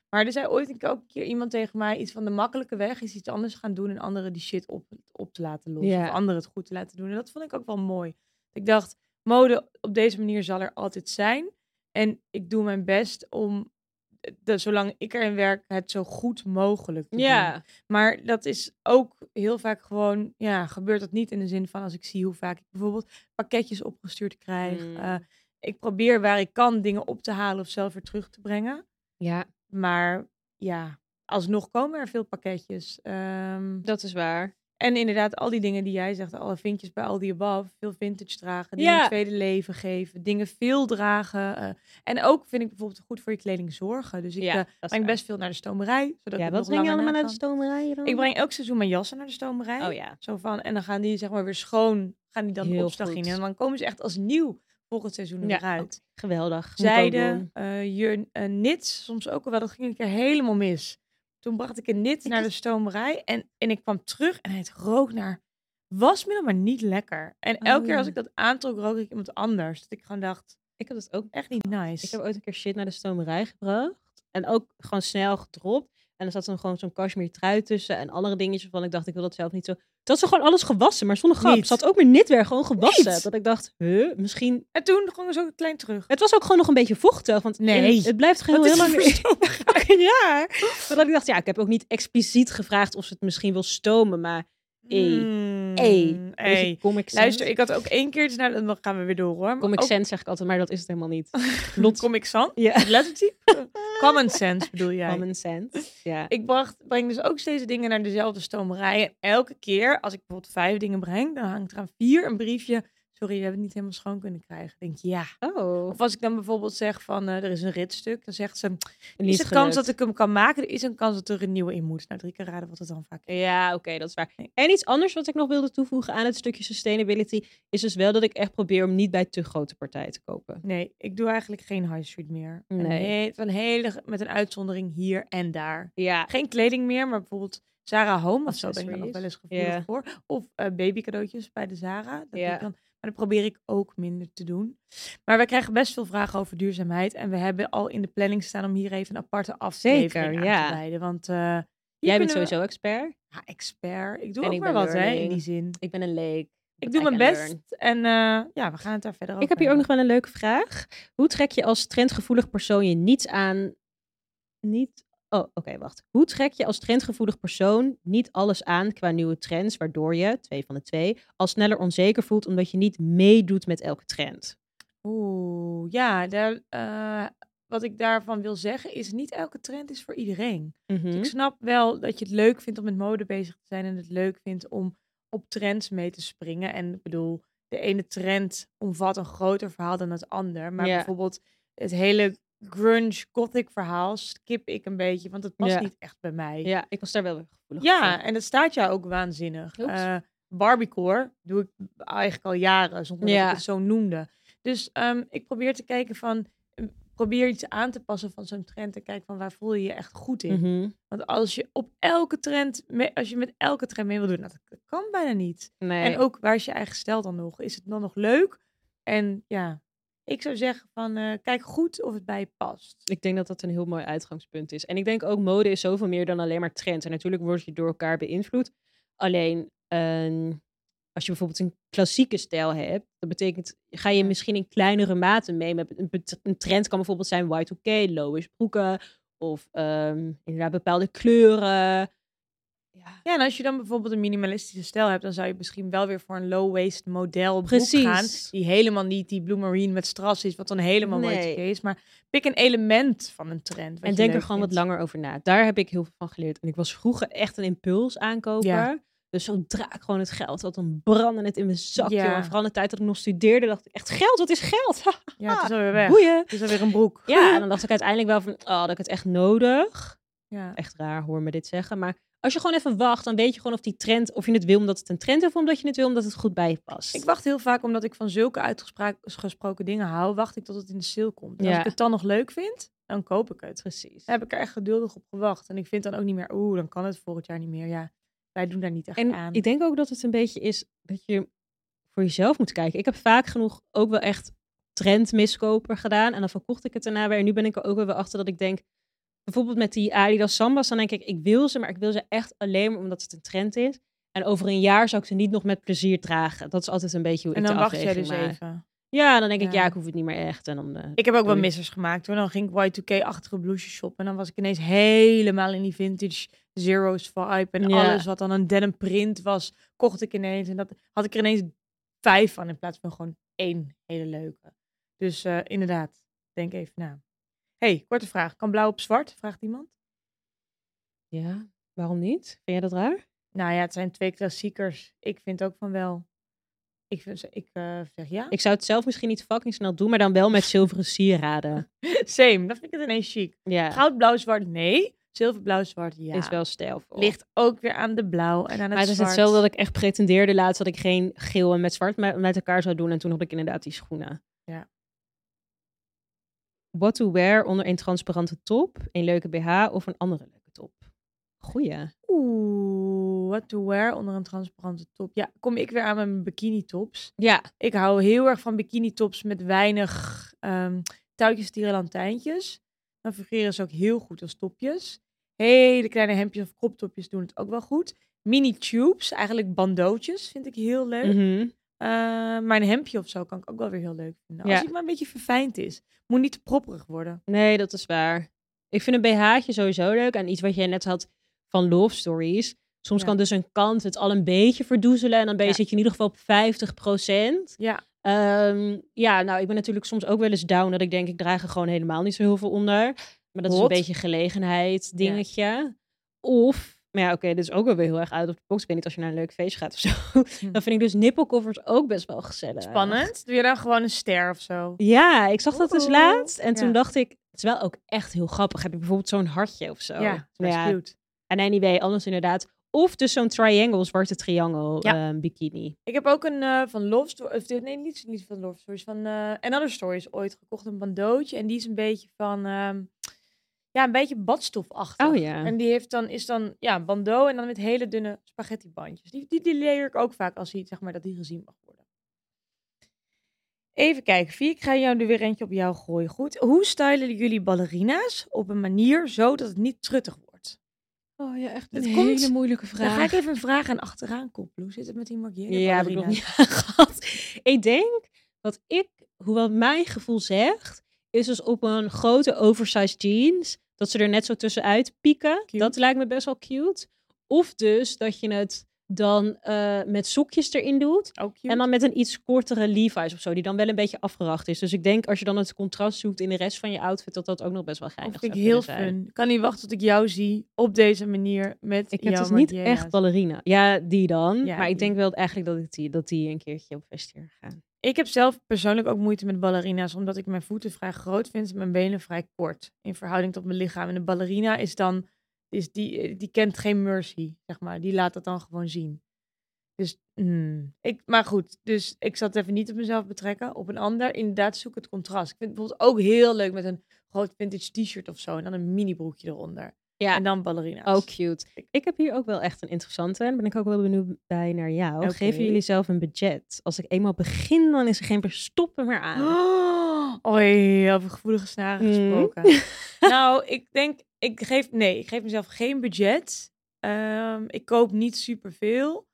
A: Maar er zei ooit een keer, ook een keer iemand tegen mij, iets van de makkelijke weg is iets anders gaan doen en anderen die shit op, op te laten lossen.
B: Ja.
A: Of anderen het goed te laten doen. En dat vond ik ook wel mooi. Ik dacht, mode op deze manier zal er altijd zijn. En ik doe mijn best om, eh, de, zolang ik erin werk, het zo goed mogelijk te doen.
B: Ja,
A: Maar dat is ook heel vaak gewoon, ja, gebeurt dat niet in de zin van als ik zie hoe vaak ik bijvoorbeeld pakketjes opgestuurd krijg.
B: Mm.
A: eh, ik probeer waar ik kan dingen op te halen of zelf weer terug te brengen.
B: ja,
A: Maar ja, alsnog komen er veel pakketjes. Ehm,
B: dat is waar.
A: en inderdaad, al die dingen die jij zegt, alle vinkjes bij al die above, veel vintage dragen, dingen
B: Ja.
A: tweede leven geven, dingen veel dragen. eh, en ook vind ik bijvoorbeeld goed voor je kleding zorgen. Dus ik
B: ja,
A: eh,
B: dat is
A: breng
B: waar.
A: best veel naar de stomerij. Zodat
B: Ja,
A: ik
B: wat
A: nog
B: breng je
A: langer
B: allemaal
A: na
B: naar de
A: kan.
B: stomerij? dan?
A: Ik breng elk seizoen mijn jassen naar de stomerij.
B: Oh ja.
A: Zo van, en dan gaan die zeg maar weer schoon, gaan die dan
B: Heel
A: op stag in.
B: goed.
A: En dan komen ze echt als nieuw volgend seizoen
B: Ja,
A: eruit. weer uit.
B: Geweldig. Moet ik ook
A: Zijde,
B: doen.
A: eh je, eh, knits, soms ook al wel, dat ging een keer helemaal mis. Toen bracht ik een knit
B: Ik
A: naar de stomerij en, en ik kwam terug en het rook naar wasmiddel, maar niet lekker. En elke
B: Oh,
A: keer als
B: ja.
A: ik dat aantrok, rook ik iemand anders. Dat ik gewoon dacht,
B: Ik heb dat ook.
A: echt niet nice.
B: Ik heb ooit een keer shit naar de stomerij gebracht. En ook gewoon snel gedropt. En er zat dan gewoon zo'n cashmere trui tussen en andere dingetjes van ik dacht ik wil dat zelf niet zo. Dat ze gewoon alles gewassen, maar zonder grap.
A: Niet.
B: Ze had ook mijn knitwear gewoon gewassen.
A: Niet.
B: Dat ik dacht, huh, misschien.
A: En toen ging ze ook klein terug.
B: Het was ook gewoon nog een beetje vochtig, want in-
A: Nee.
B: het blijft gewoon
A: Wat
B: heel
A: is
B: lang.
A: het voor
B: Fucking raar. Maar dat ik dacht, ja, ik heb ook niet expliciet gevraagd of ze het misschien wil stomen, maar Ey.
A: Mm,
B: Ey.
A: ey.
B: hey, comic sense.
A: Luister, ik had ook één keer, nou, dan gaan we weer door hoor. Maar
B: Comic
A: ook-
B: sense zeg ik altijd, maar dat is het helemaal niet. Lot.
A: Comic Sans?
B: Ja.
A: Lettertype? Common sense bedoel jij?
B: Common sense. Ja.
A: Ik bracht, breng dus ook steeds dingen naar dezelfde stomerij. En elke keer, als ik bijvoorbeeld vijf dingen breng, dan hangt er aan vier een briefje. Sorry, we hebben het niet helemaal schoon kunnen krijgen. Ik denk ja.
B: Oh.
A: Of als ik dan bijvoorbeeld zeg van eh, er is een ritstuk, dan zegt ze:
B: Niet
A: Is er kans
B: gelukt.
A: dat ik hem kan maken? Er is een kans dat er een nieuwe in moet. Nou, drie keer raden wat het dan vaak is.
B: Ja, oké, dat is waar.
A: Nee.
B: En iets anders wat ik nog wilde toevoegen aan het stukje sustainability is dus wel dat ik echt probeer om niet bij te grote partijen te kopen.
A: Nee, ik doe eigenlijk geen high street meer. Een
B: Nee.
A: he- Van hele, met een uitzondering hier en daar.
B: Ja,
A: geen kleding meer, maar bijvoorbeeld Zara Home of zo ben ik dan ook
B: Accessories.
A: wel eens gevoelig
B: Ja.
A: voor. Of eh baby cadeautjes bij de Zara. Dat doe
B: Ja.
A: ik dan, maar dat probeer ik ook minder te doen. Maar wij krijgen best veel vragen over duurzaamheid. En we hebben al in de planning staan om hier even een aparte aflevering
B: Zeker,
A: aan
B: ja.
A: te wijden. Want eh, hier
B: jij bent
A: kunnen we-
B: sowieso expert.
A: ja, expert. Ik doe
B: En
A: ook
B: ik
A: maar
B: ben
A: wat hè, in
B: learning.
A: die zin.
B: Ik ben een leek.
A: Ik
B: But
A: doe
B: I
A: mijn
B: can
A: best.
B: learn.
A: En eh, ja, we gaan het daar verder over
B: Ik heb hier ook nog
A: hebben.
B: wel een leuke vraag. Hoe trek je als trendgevoelig persoon je niets aan? Niet. Oh, oké, wacht. Hoe trek je als trendgevoelig persoon niet alles aan qua nieuwe trends, waardoor je, twee van de twee, al sneller onzeker voelt omdat je niet meedoet met elke trend?
A: Oeh, ja. Daar, eh, wat ik daarvan wil zeggen is, niet elke trend is voor iedereen. Dus
B: Mhm.
A: ik snap wel dat je het leuk vindt om met mode bezig te zijn en het leuk vindt om op trends mee te springen. En ik bedoel, de ene trend omvat een groter verhaal dan het ander. Maar
B: Ja.
A: bijvoorbeeld het hele grunge gothic verhaal skip ik een beetje, want het past
B: Ja.
A: niet echt bij mij. Ja,
B: Ja, ik was daar wel weer gevoelig voor.
A: en dat staat jou ook waanzinnig.
B: Klopt.
A: Eh Barbiecore doe ik eigenlijk al jaren, zonder dat
B: Ja.
A: ik het zo noemde. Dus ehm, ik probeer te kijken van, eh, probeer iets aan te passen van zo'n trend en kijk van waar voel je je echt goed in.
B: Mhm.
A: Want als je op elke trend, mee- als je met elke trend mee wil doen, nou, dat kan bijna niet.
B: Nee.
A: En ook waar is je eigen stijl dan nog? Is het dan nog leuk? En ja, ik zou zeggen van eh, kijk goed of het bij je past.
B: Ik denk dat dat een heel mooi uitgangspunt is. En ik denk ook, mode is zoveel meer dan alleen maar trends. En natuurlijk word je door elkaar beïnvloed. Alleen, ehm, als je bijvoorbeeld een klassieke stijl hebt, dat betekent, ga je
A: Ja.
B: misschien in kleinere mate mee. Met een, bet- een trend kan bijvoorbeeld zijn Y2K, lowish broeken. Of ehm, inderdaad bepaalde kleuren. Ja,
A: Ja, en als je dan bijvoorbeeld een minimalistische stijl hebt, dan zou je misschien wel weer voor een low-waist model broek
B: Precies.
A: gaan. Die helemaal niet die Blue Marine met strass is, wat dan helemaal
B: Nee.
A: nee. is. Maar pik een element van een trend. wat
B: En
A: je
B: denk er
A: leuk
B: gewoon wat
A: vindt.
B: langer over na. Daar heb ik heel veel van geleerd. En ik was vroeger echt een impuls aankoper.
A: Ja.
B: Dus zodra ik gewoon het geld had, dan brandde het in mijn zak. joh.
A: Ja.
B: En vooral in de tijd dat ik nog studeerde, dacht ik echt geld, wat is geld? Ha,
A: Ja, het is
B: Ah.
A: alweer weg.
B: Boeien.
A: Het is alweer een broek.
B: Ja, en dan dacht ik uiteindelijk wel van, oh, had ik het echt nodig?
A: Ja.
B: Echt raar hoor me dit zeggen. Maar Als je gewoon even wacht, dan weet je gewoon of die trend, of je het wil omdat het een trend is of omdat je het wil omdat het goed bij je past.
A: Ik wacht heel vaak omdat ik van zulke uitgesproken dingen hou, wacht ik tot het in de sale komt. En
B: Ja.
A: als ik het dan nog leuk vind, dan koop ik het.
B: Precies.
A: Dan heb ik er echt geduldig op gewacht. En ik vind dan ook niet meer, oeh, dan kan het volgend jaar niet meer. Ja, wij doen daar niet echt
B: En
A: aan.
B: ik denk ook dat het een beetje is dat je voor jezelf moet kijken. Ik heb vaak genoeg ook wel echt trendmiskoper gedaan. En dan verkocht ik het daarna weer. En nu ben ik er ook wel weer achter dat ik denk... Bijvoorbeeld met die Adidas Sambas. Dan denk ik, ik wil ze, maar ik wil ze echt alleen maar omdat het een trend is. En over een jaar zou ik ze niet nog met plezier dragen. Dat is altijd een beetje hoe
A: en
B: ik
A: dan
B: de
A: wacht jij
B: afweging
A: dus
B: maak.
A: even.
B: Ja, dan denk ik,
A: Ja.
B: ja, ik hoef het niet meer echt. En dan, eh,
A: Ik heb ook wel
B: Doei.
A: missers gemaakt hoor. Dan ging ik Y2K-achtige blouses shoppen. En dan was ik ineens helemaal in die vintage zeros vibe. En
B: Ja.
A: alles wat dan een denim print was, kocht ik ineens. En dat had ik er ineens vijf van in plaats van gewoon één hele leuke. Dus eh, inderdaad, denk even na. hey, korte vraag. Kan blauw op zwart? Vraagt iemand.
B: ja, waarom niet? Vind jij dat raar?
A: Nou ja, het zijn twee klassiekers. Ik vind ook van wel. Ik, vind, ik eh, zeg ja.
B: Ik zou het zelf misschien niet fucking snel doen, maar dan wel met zilveren sieraden.
A: Same, dan vind ik het ineens chic.
B: Ja,
A: Goud, blauw, zwart, nee. Zilver, blauw, zwart, ja.
B: is wel stijl.
A: Ligt ook weer aan de blauw en aan het
B: Maar het is
A: zwart.
B: hetzelfde dat ik echt pretendeerde laatst dat ik geen geel en met zwart me- met elkaar zou doen. En toen had ik inderdaad die schoenen.
A: Ja.
B: What to wear onder een transparante top, een leuke BH of een andere leuke top? Goeie.
A: Oeh, what to wear onder een transparante top. Ja, kom ik weer aan mijn bikini tops.
B: Ja,
A: Ik hou heel erg van bikini tops met weinig ehm touwtjes, tierenlantijntjes. Dan figureren ze ook heel goed als topjes. Hele kleine hemdjes of kroptopjes doen het ook wel goed. Mini tubes, eigenlijk bandootjes, vind ik heel leuk.
B: mhm.
A: Eh, maar een hemdje of zo kan ik ook wel weer heel leuk vinden.
B: Ja.
A: Als het maar een beetje verfijnd is. Moet niet te propperig worden.
B: nee, dat is waar. Ik vind een BH'tje sowieso leuk. En iets wat jij net had van Love Stories. Soms
A: Ja.
B: kan dus een kant het al een beetje verdoezelen. En dan ben je,
A: Ja.
B: zit je in ieder geval op 50
A: Ja,
B: Ehm, ja, nou, ik ben natuurlijk soms ook wel eens down dat ik denk, ik draag er gewoon helemaal niet zo heel veel onder. Maar dat is
A: Hot.
B: een beetje gelegenheid dingetje. Of, maar ja, oké, dit is ook wel weer heel erg uit op de box. Ik weet niet, als je naar een leuk feest gaat of zo.
A: Hm.
B: Dan vind ik dus nippelkoffers ook best wel gezellig.
A: spannend. Doe je dan gewoon een ster of zo?
B: Ja, ik zag dat dus
A: Oeh.
B: laatst. En toen
A: Oh. Ja.
B: dacht ik, het is wel ook echt heel grappig. Heb je bijvoorbeeld zo'n hartje of zo?
A: Ja,
B: Nou
A: best
B: ja,
A: cute.
B: En anyway, anders inderdaad. Of dus zo'n triangle, zwarte triangle
A: Ja.
B: ehm, bikini.
A: Ik heb ook een eh, van Love Stories. Nee, niet, niet van Love Stories. Van eh Another Stories ooit gekocht. Een bandootje. En die is een beetje van. ehm, ja, een beetje badstofachtig.
B: Oh ja.
A: En die heeft dan, is dan ja, een bandeau en dan met hele dunne spaghettibandjes. Die, die, die leer ik ook vaak als hij, zeg maar, dat die gezien mag worden. Even kijken, Vier, ik ga jou er weer eentje op jou gooien. Goed. Hoe stylen jullie ballerina's op een manier zodat het niet truttig wordt?
B: Oh ja, echt
A: een hele
B: moeilijke
A: Daar ga ik even een vraag aan achteraan koppelen. Hoe zit het met die markering?
B: Ja, heb ik nog niet gehad. Ik denk wat ik, hoewel mijn gevoel zegt, is dus op een grote oversized jeans, dat ze er net zo tussenuit pieken.
A: Cute.
B: Dat lijkt me best wel cute. Of dus dat je het dan eh, met sokjes erin doet.
A: Ook cute.
B: En dan met een iets kortere Levi's of zo, die dan wel een beetje afgeracht is. Dus ik denk als je dan het contrast zoekt in de rest van je outfit, dat dat ook nog best wel
A: Dat
B: geinig
A: vind ik
B: zou
A: heel
B: kunnen zijn.
A: fun. Kan niet wachten tot ik jou zie op deze manier met
B: Ik heb
A: jouw
B: dus niet
A: markera's.
B: echt ballerina. Ja, die dan.
A: Ja,
B: maar ik
A: die.
B: denk wel eigenlijk dat, ik die, dat die een keertje op festival gaan.
A: Ik heb zelf persoonlijk ook moeite met ballerina's, omdat ik mijn voeten vrij groot vind en mijn benen vrij kort in verhouding tot mijn lichaam. En een ballerina is dan, is die, die kent geen mercy, zeg maar. Die laat dat dan gewoon zien. Dus, mm, ik, maar goed, dus ik zal het even niet op mezelf betrekken. Op een ander, inderdaad, zoek het contrast. Ik vind het bijvoorbeeld ook heel leuk met een groot vintage t-shirt of zo en dan een minibroekje eronder.
B: Ja.
A: En dan ballerina's.
B: Oh, cute. Ik heb hier ook wel echt een interessante. En ben ik ook wel benieuwd bij naar jou.
A: Oké.
B: Geven jullie zelf een budget? Als ik eenmaal begin, dan is er geen verstoppen meer aan.
A: Oh, Oei, over gevoelige snaren
B: Mm.
A: gesproken. nou, ik denk, ik geef, nee, ik geef mezelf geen budget. Ehm, ik koop niet superveel.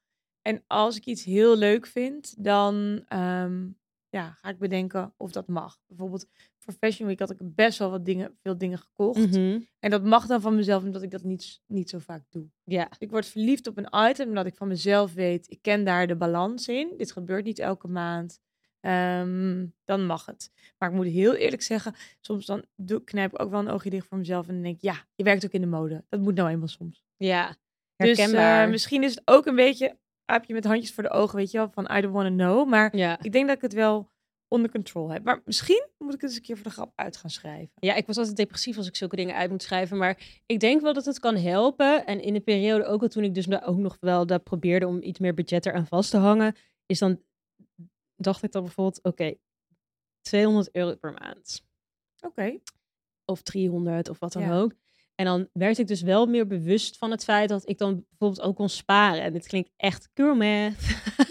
A: En als ik iets heel leuk vind, dan ehm, ja, ga ik bedenken of dat mag. Bijvoorbeeld voor Fashion Week had ik best wel wat dingen, veel dingen gekocht.
B: Mhm.
A: En dat mag dan van mezelf, omdat ik dat niet, niet zo vaak doe.
B: Ja.
A: Ik word verliefd op een item omdat ik van mezelf weet, ik ken daar de balans in. Dit gebeurt niet elke maand. Ehm, dan mag het. Maar ik moet heel eerlijk zeggen, soms dan doe, knijp ik ook wel een oogje dicht voor mezelf en dan denk ik, ja, je werkt ook in de mode. Dat moet nou eenmaal soms.
B: Ja.
A: Dus
B: Herkenbaar.
A: eh, misschien is het ook een beetje aapje met handjes voor de ogen, weet je wel, van I don't want to know. Maar
B: ja.
A: ik denk dat ik het wel onder controle heb. Maar misschien moet ik het eens een keer voor de grap uit gaan schrijven.
B: Ja, ik was altijd depressief als ik zulke dingen uit moet schrijven. Maar ik denk wel dat het kan helpen. En in de periode ook al toen ik dus nou ook nog wel dat probeerde om iets meer budget eraan vast te hangen. Is dan, dacht ik dan bijvoorbeeld, oké, 200 euro per maand.
A: Oké.
B: Of 300 of wat dan
A: Ja.
B: ook. En dan werd ik dus wel meer bewust van het feit dat ik dan bijvoorbeeld ook kon sparen. En dit klinkt echt cool math.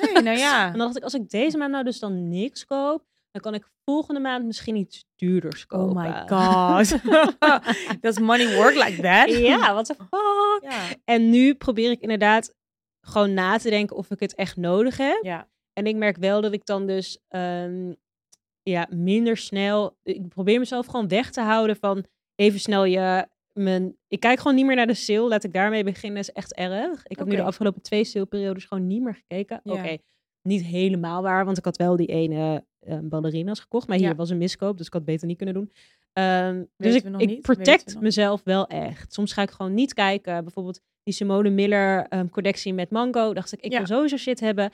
A: Nee, nou ja.
B: En dan dacht ik, als ik deze maand nou dus dan niks koop, dan kan ik volgende maand misschien iets duurders
A: Oh
B: kopen.
A: my god. Does money work like that?
B: Ja, what the
A: Oh.
B: fuck?
A: Ja.
B: En nu probeer ik inderdaad gewoon na te denken of ik het echt nodig heb.
A: Ja.
B: En ik merk wel dat ik dan dus ehm, ja, minder snel. Ik probeer mezelf gewoon weg te houden van even snel je. Mijn, ik kijk gewoon niet meer naar de sale. Laat ik daarmee beginnen. is echt erg. Ik heb nu de
A: Oké.
B: afgelopen twee saleperiodes gewoon niet meer gekeken.
A: Ja.
B: Oké, niet helemaal waar. Want ik had wel die ene eh, ballerina's gekocht. Maar hier
A: Ja.
B: was een miskoop. Dus ik had het beter niet kunnen doen. Ehm, dus
A: Weten
B: ik,
A: we nog
B: ik
A: niet, weten we
B: protect
A: nog
B: mezelf wel echt. Soms ga ik gewoon niet kijken. Bijvoorbeeld die Simone Miller ehm, collectie met mango. Dacht ik, ik
A: Ja.
B: wil sowieso shit hebben.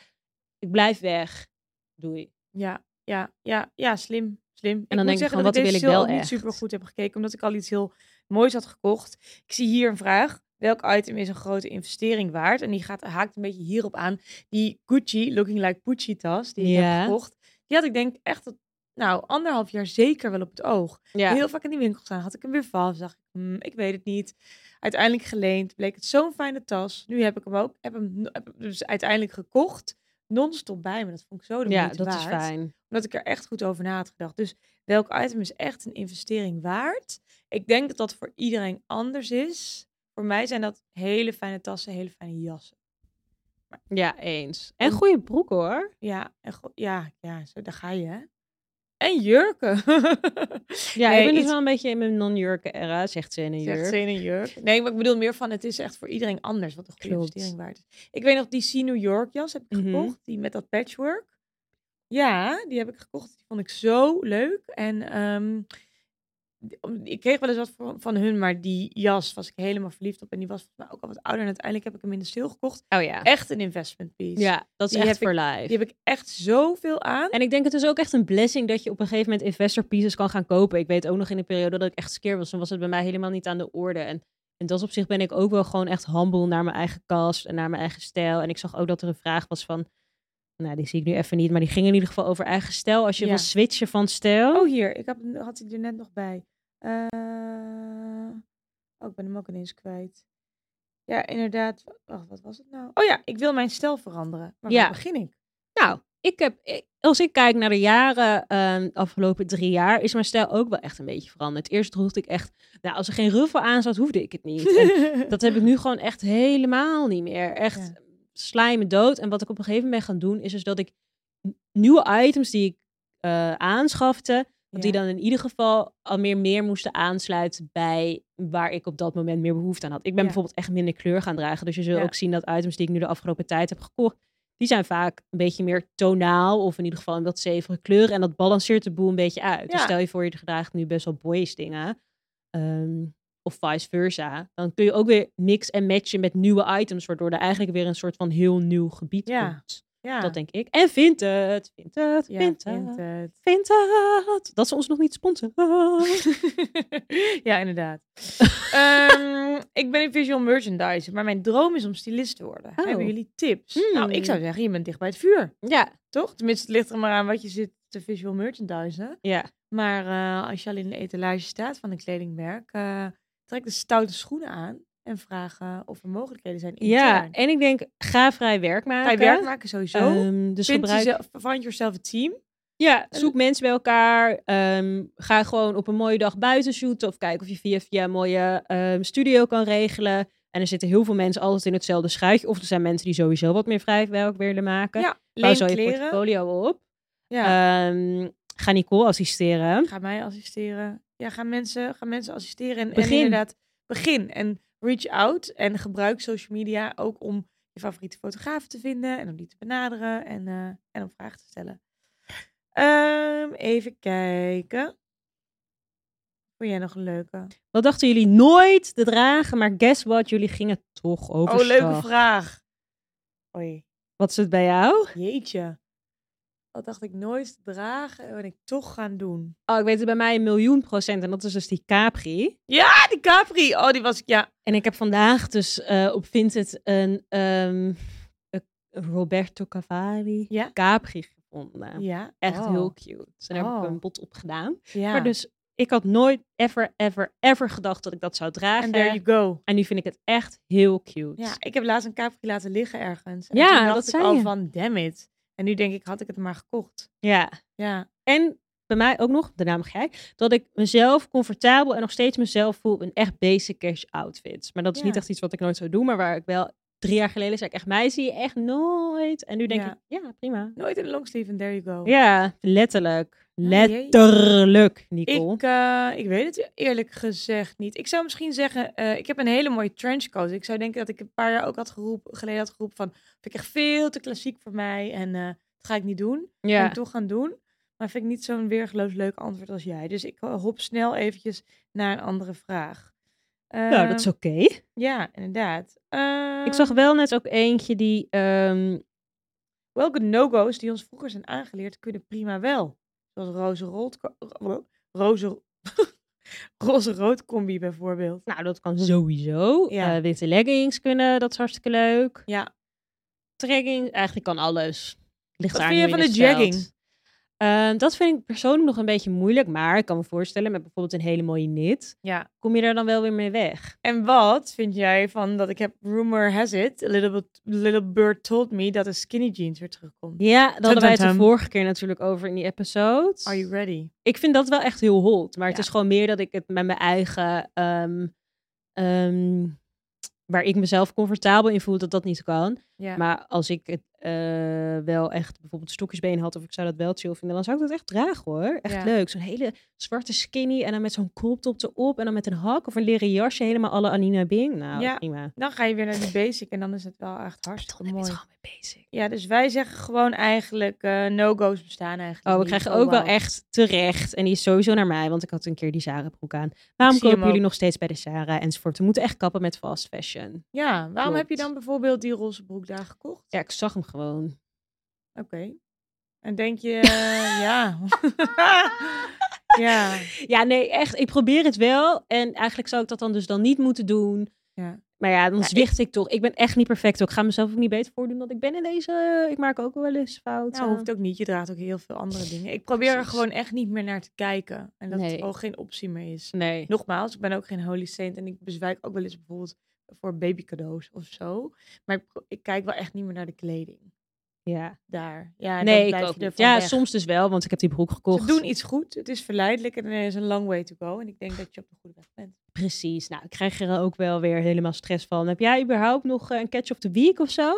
B: Ik blijf weg. Doei.
A: Ja, ja, ja, ja, slim. Slim.
B: dan denk je
A: zeggen
B: gewoon,
A: dat
B: wat wil
A: deze
B: ik
A: sale
B: wel
A: ook niet
B: echt?
A: super goed heb gekeken, omdat ik al iets heel moois had gekocht. Ik zie hier een vraag. Welk item is een grote investering waard? En die gaat, haakt een beetje hierop aan. Die Gucci Looking Like Gucci tas die ik
B: Ja.
A: heb gekocht. Die had ik denk echt, dat- nou, anderhalf jaar zeker wel op het oog.
B: Ja.
A: Heel vaak in die winkel staan. Had ik hem weer vast. Dacht ik, hmm, ik weet het niet. Uiteindelijk geleend. Bleek het zo'n fijne tas. Nu heb ik hem ook. Heb hem, heb hem dus uiteindelijk gekocht. Non-stop bij me. Dat vond ik zo de
B: ja,
A: moeite
B: dat is
A: waard
B: fijn.
A: omdat ik er echt goed over na had gedacht. Dus welk item is echt een investering waard? Ik denk dat dat voor iedereen anders is. Voor mij zijn dat hele fijne tassen, hele fijne jassen.
B: Ja, eens. En goede broeken hoor.
A: Ja, en go- ja, ja zo, daar ga je, hè? En jurken.
B: Ja,
A: Nee,
B: ik ben dus
A: iets-
B: wel een beetje in mijn non-jurken era, zegt ze in een jurk.
A: Zegt ze in een jurk. Nee, maar ik bedoel meer van het is echt voor iedereen anders wat een goede
B: Klopt.
A: investering waard is. Ik weet nog, die Sea New York jas heb ik
B: Mhm.
A: gekocht. Die met dat patchwork. Ja, die heb ik gekocht. Die vond ik zo leuk. En ehm, die- om- ik kreeg wel eens wat van, van hun, maar die jas was ik helemaal verliefd op. En die was volgens mij ook al wat ouder. En uiteindelijk heb ik hem in de stil gekocht.
B: Oh ja.
A: Echt een investment piece.
B: Ja, dat is
A: Die
B: echt
A: heb ik-
B: voor life.
A: Die heb ik echt zoveel aan.
B: En ik denk het is ook echt een blessing dat je op een gegeven moment investor pieces kan gaan kopen. Ik weet ook nog in de periode dat ik echt skeer was, dan was het bij mij helemaal niet aan de orde. En in dat opzicht ben ik ook wel gewoon echt humble naar mijn eigen kast en naar mijn eigen stijl. En ik zag ook dat er een vraag was van, nou die zie ik nu even niet, maar die ging in ieder geval over eigen stijl. Als je
A: Ja.
B: wil switchen van stijl.
A: Oh, hier. Ik had, had hij er net nog bij. Eh, oh, ik ben hem ook ineens kwijt. Ja, inderdaad. Wacht, wat was het nou? Oh ja, ik wil mijn stijl veranderen. Maar
B: Ja.
A: waar begin ik?
B: Nou, ik heb, ik- als ik kijk naar de jaren, ehm, de afgelopen drie jaar, is mijn stijl ook wel echt een beetje veranderd. Eerst droeg ik echt, nou als er geen ruffel aan zat, hoefde ik het niet. En Dat heb ik nu gewoon echt helemaal niet meer. Echt
A: Ja.
B: slijmen dood. En wat ik op een gegeven moment ben gaan doen, is dus dat ik n- nieuwe items die ik eh, aanschafte, dat die
A: Ja.
B: dan in ieder geval al meer, meer moesten aansluiten bij waar ik op dat moment meer behoefte aan had. Ik ben
A: Ja.
B: bijvoorbeeld echt minder kleur gaan dragen. Dus je zult
A: Ja.
B: ook zien dat items die ik nu de afgelopen tijd heb gekocht, die zijn vaak een beetje meer tonaal of in ieder geval een wat zevere kleur. En dat balanceert de boel een beetje uit. Dus
A: Ja.
B: stel je voor, je draagt nu best wel boys dingen. ehm, of vice versa. Dan kun je ook weer mix en matchen met nieuwe items, waardoor er eigenlijk weer een soort van heel nieuw gebied
A: Ja.
B: komt.
A: Ja,
B: Dat denk ik. En vindt het, vindt het,
A: ja,
B: vindt
A: vind
B: het,
A: het.
B: vindt het. Dat ze ons nog niet sponsoren.
A: ja, inderdaad. Ehm, ik ben een visual merchandiser, maar mijn droom is om stylist te worden.
B: Oh.
A: Hebben jullie tips?
B: Hmm.
A: Nou, ik zou zeggen, je bent dicht bij het vuur,
B: ja,
A: toch? Tenminste, het ligt er maar aan wat je zit te visual merchandisen.
B: ja.
A: Maar eh, als je al in de etalage staat van een kledingmerk, eh, trek de stoute schoenen aan en vraag eh, of er mogelijkheden zijn intern.
B: Ja, en ik denk, ga vrij werk maken.
A: Ga je werk maken sowieso.
B: Ehm, dus
A: Vind
B: gebruik...
A: jezelf, find yourself a team.
B: Ja, zoek mensen bij elkaar. ehm, ga gewoon op een mooie dag buiten shooten. Of kijk of je via, via een mooie ehm, studio kan regelen. En er zitten heel veel mensen altijd in hetzelfde schuitje. Of er zijn mensen die sowieso wat meer vrij werk willen maken.
A: Ja,
B: Bouw
A: leen
B: zo je
A: kleren.
B: portfolio op.
A: Ja,
B: Ehm, ga Nicole assisteren.
A: ga mij assisteren. Ja, ga mensen, ga mensen assisteren. En, en
B: Begin.
A: inderdaad, begin en reach out. En gebruik social media ook om je favoriete fotografen te vinden. En om die te benaderen en, eh, en om vragen te stellen. Ehm, even kijken. Vond jij nog een leuke?
B: Wat dachten jullie nooit te dragen? Maar guess what? Jullie gingen toch over.
A: Oh, leuke vraag. Oei,
B: Wat is het bij jou?
A: jeetje. Dat dacht ik nooit te dragen en ben ik toch gaan doen.
B: Oh, ik weet het bij mij een miljoen procent. En dat is dus die Capri.
A: Ja, die Capri. Oh, die was ik, ja.
B: En ik heb vandaag dus eh, op Vinted een ehm, een Roberto Cavalli
A: Ja.
B: Capri gevonden.
A: ja.
B: Echt
A: Oh.
B: heel cute. Dus daar heb
A: Oh.
B: ik een bod op gedaan.
A: Ja.
B: Maar dus ik had nooit ever, ever, ever gedacht dat ik dat zou dragen.
A: And there you go.
B: En nu vind ik het echt heel cute.
A: Ja, ik heb laatst een Capri laten liggen ergens. En
B: Ja,
A: toen dacht
B: dat
A: ik
B: zei
A: al
B: je.
A: van, damn it. En nu denk ik, had ik het maar gekocht.
B: ja.
A: Ja,
B: En bij mij ook nog, daarna mag jij, dat ik mezelf comfortabel en nog steeds mezelf voel in echt basic cash outfits. Maar dat is
A: Ja.
B: niet echt iets wat ik nooit zou doen, maar waar ik wel drie jaar geleden zei ik echt, mij zie je echt nooit. En nu denk
A: Ja.
B: ik, ja, prima.
A: nooit een longsleeve and there you go.
B: Ja, letterlijk.
A: Ah, jee.
B: Letterlijk, Nicole.
A: Ik, eh, ik weet het eerlijk gezegd niet. Ik zou misschien zeggen, eh, ik heb een hele mooie trenchcoat. Ik zou denken dat ik een paar jaar ook had geroep, geleden had geroepen van, vind ik echt veel te klassiek voor mij en eh, dat ga ik niet doen.
B: ja.
A: Ben ik toch gaan doen. Maar vind ik niet zo'n weergeloos leuk antwoord als jij. Dus ik hop snel eventjes naar een andere vraag.
B: nou, dat is
A: Ehm,
B: oké.
A: Ja, inderdaad.
B: Ik
A: eh,
B: zag wel net ook eentje die, ehm,
A: welke no-go's die ons vroeger zijn aangeleerd kunnen prima wel. Zoals roze rood, roze, roze rood combi bijvoorbeeld.
B: nou, dat kan sowieso.
A: Ja.
B: Eh, witte leggings kunnen, dat is hartstikke leuk.
A: Ja.
B: Trekking, eigenlijk kan alles. Ligt
A: Wat
B: eraan
A: vind je
B: hoe
A: van
B: het
A: de
B: stelt.
A: jegging?
B: Ehm, dat vind ik persoonlijk nog een beetje moeilijk, maar ik kan me voorstellen met bijvoorbeeld een hele mooie knit,
A: Ja.
B: kom je daar dan wel weer mee weg.
A: En wat vind jij van dat ik heb rumor has it, a little, bit- little bird told me dat een skinny jeans weer terugkomt.
B: Ja, daar hadden wij het de
A: tum.
B: vorige keer natuurlijk over in die episode.
A: Are you ready?
B: Ik vind dat wel echt heel hot, maar het
A: Ja.
B: is gewoon meer dat ik het met mijn eigen, ehm, ehm, waar ik mezelf comfortabel in voel, dat dat niet kan.
A: Ja.
B: Maar als ik het eh, wel echt bijvoorbeeld stokjesbeen had of ik zou dat wel chill vinden, dan zou ik dat echt dragen hoor. Echt
A: Ja.
B: leuk. Zo'n hele zwarte skinny en dan met zo'n koptop erop en dan met een hak of een leren jasje helemaal alle Anina Bing. Nou,
A: Ja.
B: prima.
A: Dan ga je weer naar die basic en dan is het wel echt hartstikke
B: Dan heb je
A: mooi.
B: het gewoon mee bezig.
A: Ja, dus wij zeggen gewoon eigenlijk eh, no-go's bestaan eigenlijk
B: Oh, we
A: niet.
B: krijgen ook wel
A: wauw.
B: echt terecht. En die is sowieso naar mij, want ik had een keer die Zara broek aan. Waarom
A: zie hem
B: kopen jullie
A: ook.
B: nog steeds bij de Zara enzovoort? We moeten echt kappen met fast fashion.
A: Ja, waarom heb je
B: Klopt.
A: dan bijvoorbeeld die roze broek daar gekocht?
B: Ja, ik zag hem gewoon.
A: Oké. En denk je, eh, ja. ja.
B: Ja, nee, echt. Ik probeer het wel. En eigenlijk zou ik dat dan dus dan niet moeten doen.
A: Ja.
B: Maar ja, dan
A: Ja, ik-
B: zwicht ik... toch. Ik ben echt niet perfect. hoor. Ik ga mezelf ook niet beter voordoen dan ik ben in deze. Ik maak ook wel eens fouten.
A: Nou, hoeft ook niet. Je draagt ook heel veel andere dingen. Ik probeer er
B: Precies.
A: gewoon echt niet meer naar te kijken. En dat
B: Nee.
A: het ook geen optie meer is.
B: Nee.
A: Nogmaals, ik ben ook geen holy saint. En ik bezwijk ook wel eens bijvoorbeeld voor babycadeaus of zo. Maar ik, pro- ik kijk wel echt niet meer naar de kleding.
B: Ja.
A: Daar. Ja, en dan
B: Nee, ik
A: blijf
B: ook
A: je er
B: niet.
A: van
B: Ja,
A: weg.
B: soms dus wel, want ik heb die broek gekocht.
A: Ze doen iets goed. Het is verleidelijk en er is een long way to go. En ik denk dat je op de goede weg bent.
B: Precies. Nou, ik krijg er ook wel weer helemaal stress van. Heb jij überhaupt nog eh, een catch of the week of zo?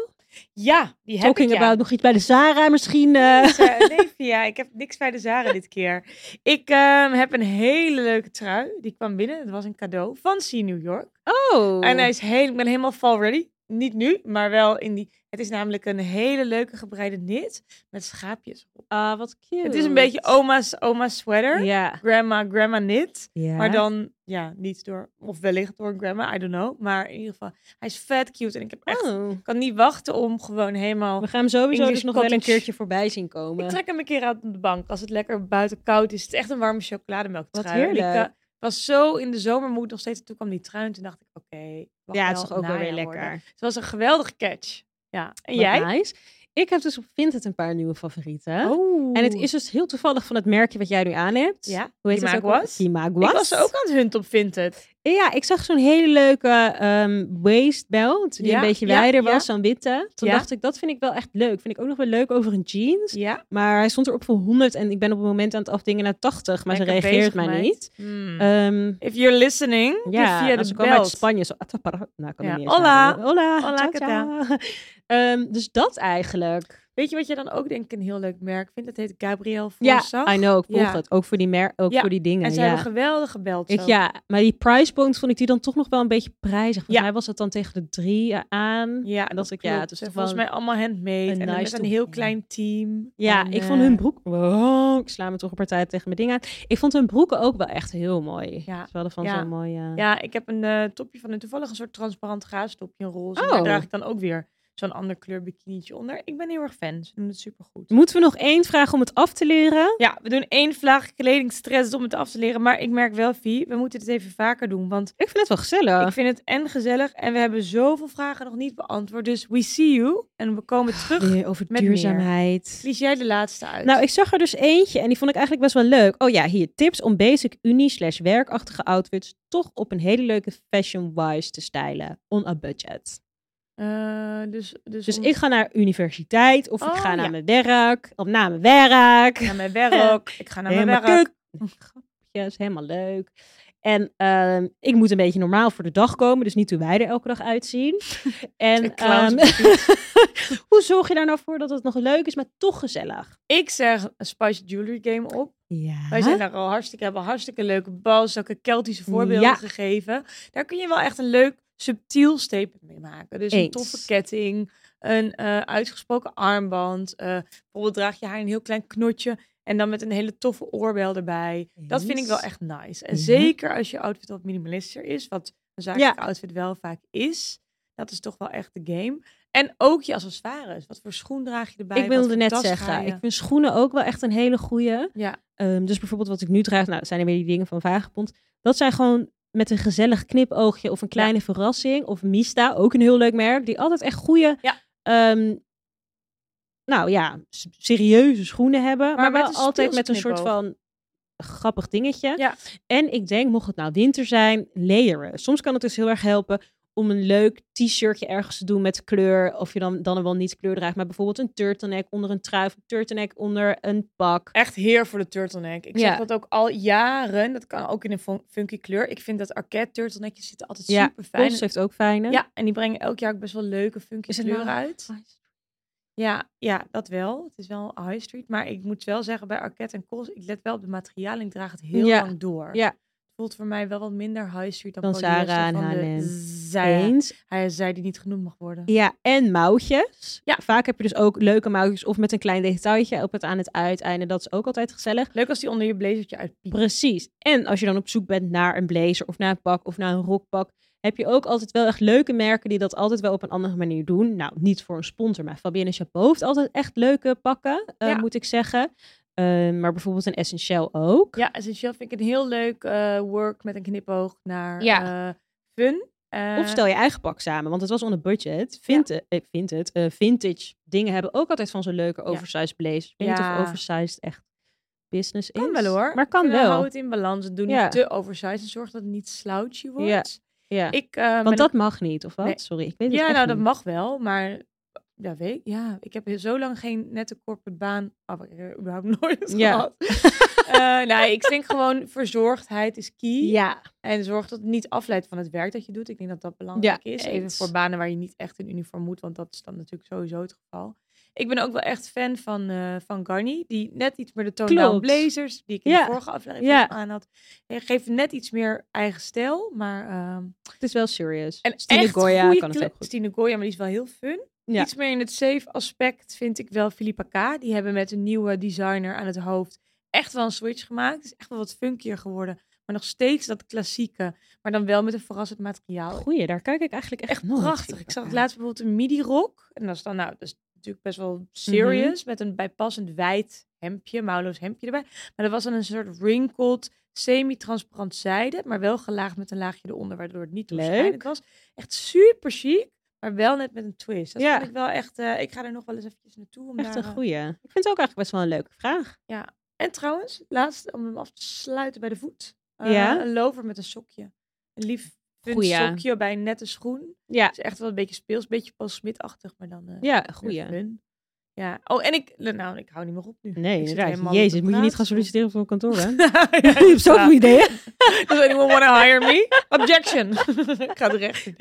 A: Ja, die heb
B: Talking
A: ik, ja.
B: about nog iets bij de Zara misschien. eh.
A: Nee, Sa- nee, Via, ik heb niks bij de Zara dit keer. Ik ehm, heb een hele leuke trui. Die kwam binnen. Het was een cadeau van Sea New York.
B: Oh.
A: En hij is heel, ik ben helemaal fall ready. Niet nu, maar wel in die... Het is namelijk een hele leuke gebreide knit met schaapjes. op.
B: Ah, wat cute.
A: Het is een beetje oma's, oma's sweater.
B: Ja.
A: Grandma, grandma knit.
B: ja.
A: Maar dan, ja, niet door... Of wellicht door een grandma, I don't know. Maar in ieder geval, hij is vet cute. En ik heb echt...
B: Oh.
A: Ik kan niet wachten om gewoon helemaal
B: We gaan hem sowieso
A: English
B: dus nog wel een
A: cottage.
B: keertje voorbij zien komen.
A: Ik trek hem een keer uit op de bank. Als het lekker buiten koud is. Het is echt een warme chocolademelk
B: Wat
A: trui. En ik,
B: heerlijk.
A: eh, was zo in de zomermoed nog steeds. Toen kwam die trui en toen dacht ik, oké. mag
B: ja, het is
A: wel
B: toch ook wel weer
A: najaar
B: lekker.
A: worden. Het was een geweldige catch. Ja. En
B: Wat
A: jij?
B: Nice. Ik heb dus op Vinted een paar nieuwe favorieten.
A: Oh.
B: En het is dus heel toevallig van het merkje wat jij nu aan hebt.
A: Ja,
B: Hoe heet het ook? alweer?
A: Kimaguas.
B: Kimaguas.
A: Ik was ook aan het hunt op Vinted.
B: Ja, ik zag zo'n hele leuke ehm waistbelt. Die
A: Ja,
B: een beetje
A: ja,
B: wijder
A: ja.
B: was dan witte. Toen
A: Ja.
B: dacht ik, dat vind ik wel echt leuk. Vind ik ook nog wel leuk over een jeans.
A: Ja.
B: Maar hij stond erop voor 100 en ik ben op het moment aan het afdingen naar 80. Maar ze
A: Lekker
B: reageert
A: bezig,
B: mij
A: meid.
B: niet.
A: Hmm.
B: Ehm,
A: If you're listening,
B: ja,
A: ja, Dus via
B: nou, ze
A: de
B: kwam uit
A: belt.
B: Spanje. Zo, atapara- nou, ik kan
A: Ja,
B: het niet
A: hola.
B: hola. Hola.
A: Hola,
B: ciao,
A: ¿qué
B: ciao. Ehm, dus dat eigenlijk.
A: Weet je wat je dan ook denk ik een heel leuk merk vindt? Dat heet Gabrielle
B: Ja,
A: Forsyth.
B: I know. Ik volg
A: Ja.
B: het. Ook voor die, mer ook
A: Ja,
B: voor die dingen.
A: En ze
B: ja.
A: hebben geweldige belt.
B: Ik, ja, maar die price point vond ik die dan toch nog wel een beetje prijzig. Volgens
A: Ja.
B: mij was dat dan tegen de drie eh, aan.
A: Ja, dat,
B: En dat ik- ja,
A: klopt.
B: het is
A: En
B: toch
A: volgens
B: wel
A: mij allemaal handmade.
B: een
A: en dan
B: nice
A: met een
B: to-
A: heel
B: ja.
A: klein team.
B: Ja,
A: En,
B: ik vond
A: eh,
B: hun broek... Wow, ik sla me toch een partij tegen mijn ding aan. Ik vond hun broeken ook wel echt heel mooi.
A: Ja.
B: Ze hadden van
A: Ja.
B: zo'n mooie...
A: Ja, ik heb een eh, topje van een toevallig een soort transparant gaastopje, een roze.
B: Oh.
A: En daar draag ik dan ook weer zo'n ander kleur bikinietje onder. Ik ben heel erg fan. Ze doen het supergoed.
B: Moeten we nog één vraag om het af te leren?
A: Ja, we doen één vlaag kledingstress om het af te leren. Maar ik merk wel, Vie, we moeten dit even vaker doen. Want
B: Ik vind het wel gezellig.
A: ik vind het en gezellig en we hebben zoveel vragen nog niet beantwoord. Dus we see you en we komen terug.
B: Eh, over
A: met
B: duurzaamheid.
A: Kies jij de laatste uit?
B: Nou, ik zag er dus eentje en die vond ik eigenlijk best wel leuk. Oh ja, hier tips om basic unie slash werkachtige outfits toch op een hele leuke fashion-wise te stylen. On a budget.
A: Eh, dus, dus,
B: Dus
A: om-
B: ik ga naar universiteit of ik
A: Oh,
B: ga naar
A: ja.
B: mijn werk. Of naar mijn werk.
A: naar mijn werk. Ik ga naar mijn
B: helemaal
A: werk.
B: kut. Grapjes, helemaal leuk. En ehm, ik moet een beetje normaal voor de dag komen, dus niet hoe wij er elke dag uitzien. en
A: Een clown op
B: ehm, hoe zorg je daar nou voor dat het nog leuk is, maar toch gezellig?
A: Ik zeg een Spice Jewelry Game op.
B: Ja.
A: Wij zijn daar al hartstikke, hebben hartstikke leuke balzakken, Keltische voorbeelden
B: Ja.
A: gegeven. Daar kun je wel echt een leuk subtiel statement mee maken. Dus een
B: Eens.
A: toffe ketting, een eh, uitgesproken armband. eh, bijvoorbeeld draag je haar een heel klein knotje en dan met een hele toffe oorbel erbij. Dat vind ik wel
B: Eens. Mhm.
A: echt nice. En
B: Ja.
A: zeker als je outfit wat minimalistischer is, wat een zakelijke outfit wel vaak is. Dat is toch wel echt de game. En ook je accessoires. Wat voor schoen draag je erbij?
B: ik
A: Wat
B: wilde
A: voor
B: net
A: tas ga
B: zeggen,
A: je?
B: ik vind schoenen ook wel echt een hele goeie.
A: Ja.
B: Ehm, dus bijvoorbeeld wat ik nu draag, nou, dat zijn er weer die dingen van Vagebond. Dat zijn gewoon met een gezellig knipoogje of een kleine verrassing. Of Mista, ook een heel leuk merk, die altijd echt goede,
A: Ja.
B: nou ja, s- serieuze schoenen hebben. Maar,
A: met
B: wel
A: een
B: altijd
A: speelse
B: met een soort
A: knipoog.
B: van grappig dingetje.
A: Ja.
B: En ik denk, mocht het nou winter zijn, layeren. Soms kan het dus heel erg helpen om een leuk t-shirtje ergens te doen met kleur. Of je dan, dan wel niet kleur draagt, maar bijvoorbeeld een turtleneck onder een trui. Of een turtleneck onder een pak.
A: Echt heer voor de turtleneck. Ik
B: Ja.
A: zeg dat ook al jaren. Dat kan ook in een fun- funky kleur. Ik vind dat arquette turtleneckjes zitten altijd
B: Ja,
A: super fijn.
B: Pols heeft ook fijne.
A: Ja, en die brengen elk jaar ook best wel leuke funky
B: Is het
A: kleuren
B: nou-
A: uit. Ja, ja, dat wel. Het is wel een high street. Maar ik moet wel zeggen, bij Arquette en Kos, ik let wel op de materialen. Ik draag het heel
B: Ja,
A: lang door.
B: ja.
A: Het voelt voor mij wel wat minder high street dan,
B: Dan
A: polyester
B: Zara en
A: van de
B: H&M.
A: zij.
B: Eens.
A: Hij zij die niet genoemd mag worden.
B: Ja, en mouwtjes.
A: Ja.
B: Vaak heb je dus ook leuke mouwtjes of met een klein detailtje op het aan het uiteinde. Dat is ook altijd gezellig.
A: Leuk als die onder je blazertje uitpiept.
B: Precies. En als je dan op zoek bent naar een blazer of naar een pak of naar een rokpak, heb je ook altijd wel echt leuke merken die dat altijd wel op een andere manier doen. Nou, niet voor een sponsor, maar Fabienne Chapeau heeft altijd echt leuke pakken, eh,
A: Ja.
B: moet ik zeggen. Eh, maar bijvoorbeeld een essentieel ook.
A: Ja, essentieel vind ik een heel leuk eh, work met een knipoog naar
B: Ja.
A: eh, fun. Eh,
B: Of stel je eigen pak samen, want het was onder budget. Vintage, eh, vintage, eh, vintage dingen hebben ook altijd van zo'n leuke oversized blazer. Ik weet niet
A: Ja.
B: of oversized echt business
A: Kan
B: is.
A: wel hoor.
B: Maar kan
A: Ik vind, Hou
B: wel.
A: het in balans. Het doe
B: Ja.
A: niet te oversized en zorg dat het niet slouchy wordt.
B: Ja, Ja.
A: Ik, eh, ben
B: want dat mag niet, of wat?
A: Nee.
B: Sorry, ik weet
A: ook-
B: het
A: ja,
B: echt
A: nou dat
B: niet.
A: mag wel, maar ja, weet ik. Ja, ik heb zo lang geen nette corporate baan. Oh, ik heb er überhaupt nooit
B: Ja.
A: gehad. Eh, nee, ik denk gewoon verzorgdheid is key.
B: Ja,
A: En zorg dat het niet afleidt van het werk dat je doet. Ik denk dat dat belangrijk is. Even
B: eens.
A: voor banen waar je niet echt in uniform moet, want dat is dan natuurlijk sowieso het geval. Ik ben ook wel echt fan van, eh van Garni, die net iets meer de tone-down
B: Klopt.
A: blazers, die ik in
B: Ja.
A: de vorige aflevering
B: Ja.
A: aan had. En geeft net iets meer eigen stijl, maar... ehm
B: het is wel serious.
A: en
B: Stine
A: echt
B: Goya
A: goeie
B: kan het
A: kle-
B: ook goed.
A: Stine Goya, maar die is wel heel fun.
B: Ja.
A: Iets meer in het safe aspect vind ik wel Filippa K. Die hebben met een nieuwe designer aan het hoofd echt wel een switch gemaakt. Het is echt wel wat funkier geworden. Maar nog steeds dat klassieke. Maar dan wel met een verrassend materiaal.
B: Goeie, daar kijk ik eigenlijk echt,
A: echt
B: nooit
A: prachtig.
B: van
A: Ik zag het
B: elkaar.
A: laatst bijvoorbeeld een midi-rok. En dat is dan, nou, dat is natuurlijk best wel serious.
B: Mhm.
A: Met een bijpassend wijd hemdje, mouwloos hemdje erbij. Maar dat was dan een soort wrinkled, semi-transparant zijde. Maar wel gelaagd met een laagje eronder, waardoor het niet
B: Leuk.
A: doorschijnend was. Echt super chic, maar wel net met een twist. Dat
B: Ja.
A: vind ik wel echt... eh, ik ga er nog wel eens eventjes naartoe. Om
B: Echt
A: daar,
B: een
A: eh,
B: goeie. Ik vind het ook eigenlijk best wel een leuke vraag.
A: En trouwens, laatst, om hem af te sluiten bij de voet. eh,
B: Ja?
A: Een lover met een sokje. Een lief punt
B: Goeie.
A: sokje bij een nette schoen.
B: Ja,
A: Het is echt wel een beetje speels, een beetje pas smitachtig, maar dan... eh,
B: ja
A: Goeie.
B: goeie.
A: Ja. Oh, en ik... Nou, ik hou niet meer op nu.
B: Nee,
A: Ik zit
B: inderdaad.
A: helemaal
B: Jezus,
A: op
B: moet je niet gaan
A: praatstoel.
B: solliciteren voor een kantoor, hè?
A: Ja,
B: Je hebt zoveel
A: ja. Dus
B: ideeën.
A: Does anyone want to hire me? Objection. ik ga er echt in.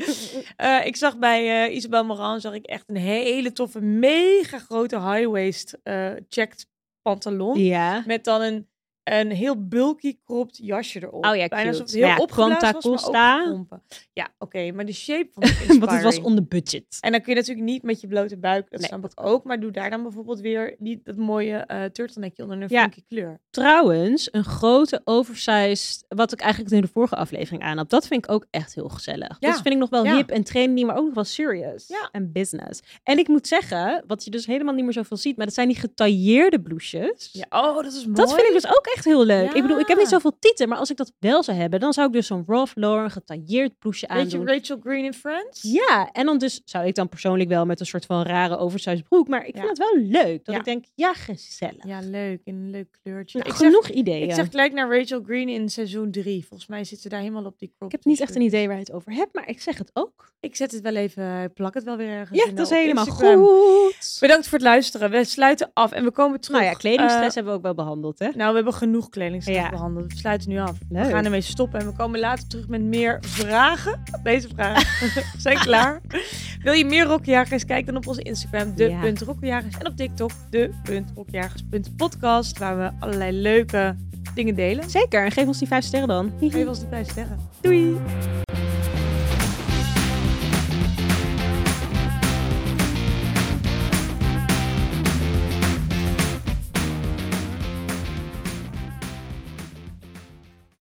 A: Eh, ik zag bij eh Isabel Moran zag ik echt een hele toffe, mega grote high-waist eh checked pantalon.
B: Ja.
A: Met dan een een heel bulky cropped jasje erop.
B: Oh ja,
A: Bijna
B: cute.
A: alsof het heel
B: Ja,
A: opgeblazen
B: Quanta
A: was, maar
B: Costa.
A: opgepompen. Ja, oké, maar de shape van het
B: Want het was on the budget.
A: En dan kun je natuurlijk niet met je blote buik, dat
B: Nee,
A: snap ik ook. Maar doe daar dan bijvoorbeeld weer die, dat mooie eh turtleneckje onder een
B: Ja.
A: funky kleur.
B: Trouwens, een grote oversized, wat ik eigenlijk in de vorige aflevering aan had, dat vind ik ook echt heel gezellig.
A: Ja,
B: Dat vind ik nog wel
A: ja.
B: hip en trendy, maar ook nog wel serious
A: Ja.
B: en business. En ik moet zeggen, wat je dus helemaal niet meer zoveel ziet, maar dat zijn die getailleerde blouses.
A: Ja, oh, dat is mooi.
B: Dat vind ik dus ook echt heel leuk. Ik bedoel, ik heb niet
A: Ja.
B: zoveel tieten, maar als ik dat wel zou hebben, dan zou ik dus zo'n Ralph Lauren getailleerd blouseje
A: Beetje
B: aandoen.
A: Rachel Green in Friends?
B: Ja, en dan dus zou ik dan persoonlijk wel met een soort van rare oversized broek, maar ik
A: Ja.
B: vind het wel leuk. Dat
A: Ja.
B: ik denk, ja, gezellig.
A: Ja, leuk. In een leuk kleurtje.
B: Nou,
A: ik, zeg,
B: genoeg ideeën.
A: ik zeg gelijk naar Rachel Green in seizoen 3. Volgens mij zit ze daar helemaal op die crop.
B: Ik heb niet echt een idee waar je het over hebt, maar ik zeg het ook.
A: Ik zet het wel even, ik plak het wel weer ergens.
B: Ja,
A: in,
B: dat is
A: eh, op
B: helemaal
A: Instagram.
B: goed.
A: Bedankt voor het luisteren. We sluiten af en we komen terug.
B: Nou ja, kledingstress
A: Eh,
B: hebben we ook wel behandeld, hè?
A: nou, we hebben genoeg kledingstress
B: Ja.
A: behandeld. We sluiten nu af.
B: Leuk.
A: We gaan ermee stoppen en we komen later terug met meer vragen. Deze vragen zijn klaar. Wil je meer rokkenjagers? Kijk dan op onze Instagram,
B: Ja.
A: de.rokkenjagers. En op TikTok, de.rokkenjagers.podcast. Waar we allerlei leuke dingen delen.
B: Zeker, en geef ons die vijf sterren dan.
A: Geef ons die vijf sterren.
B: Doei!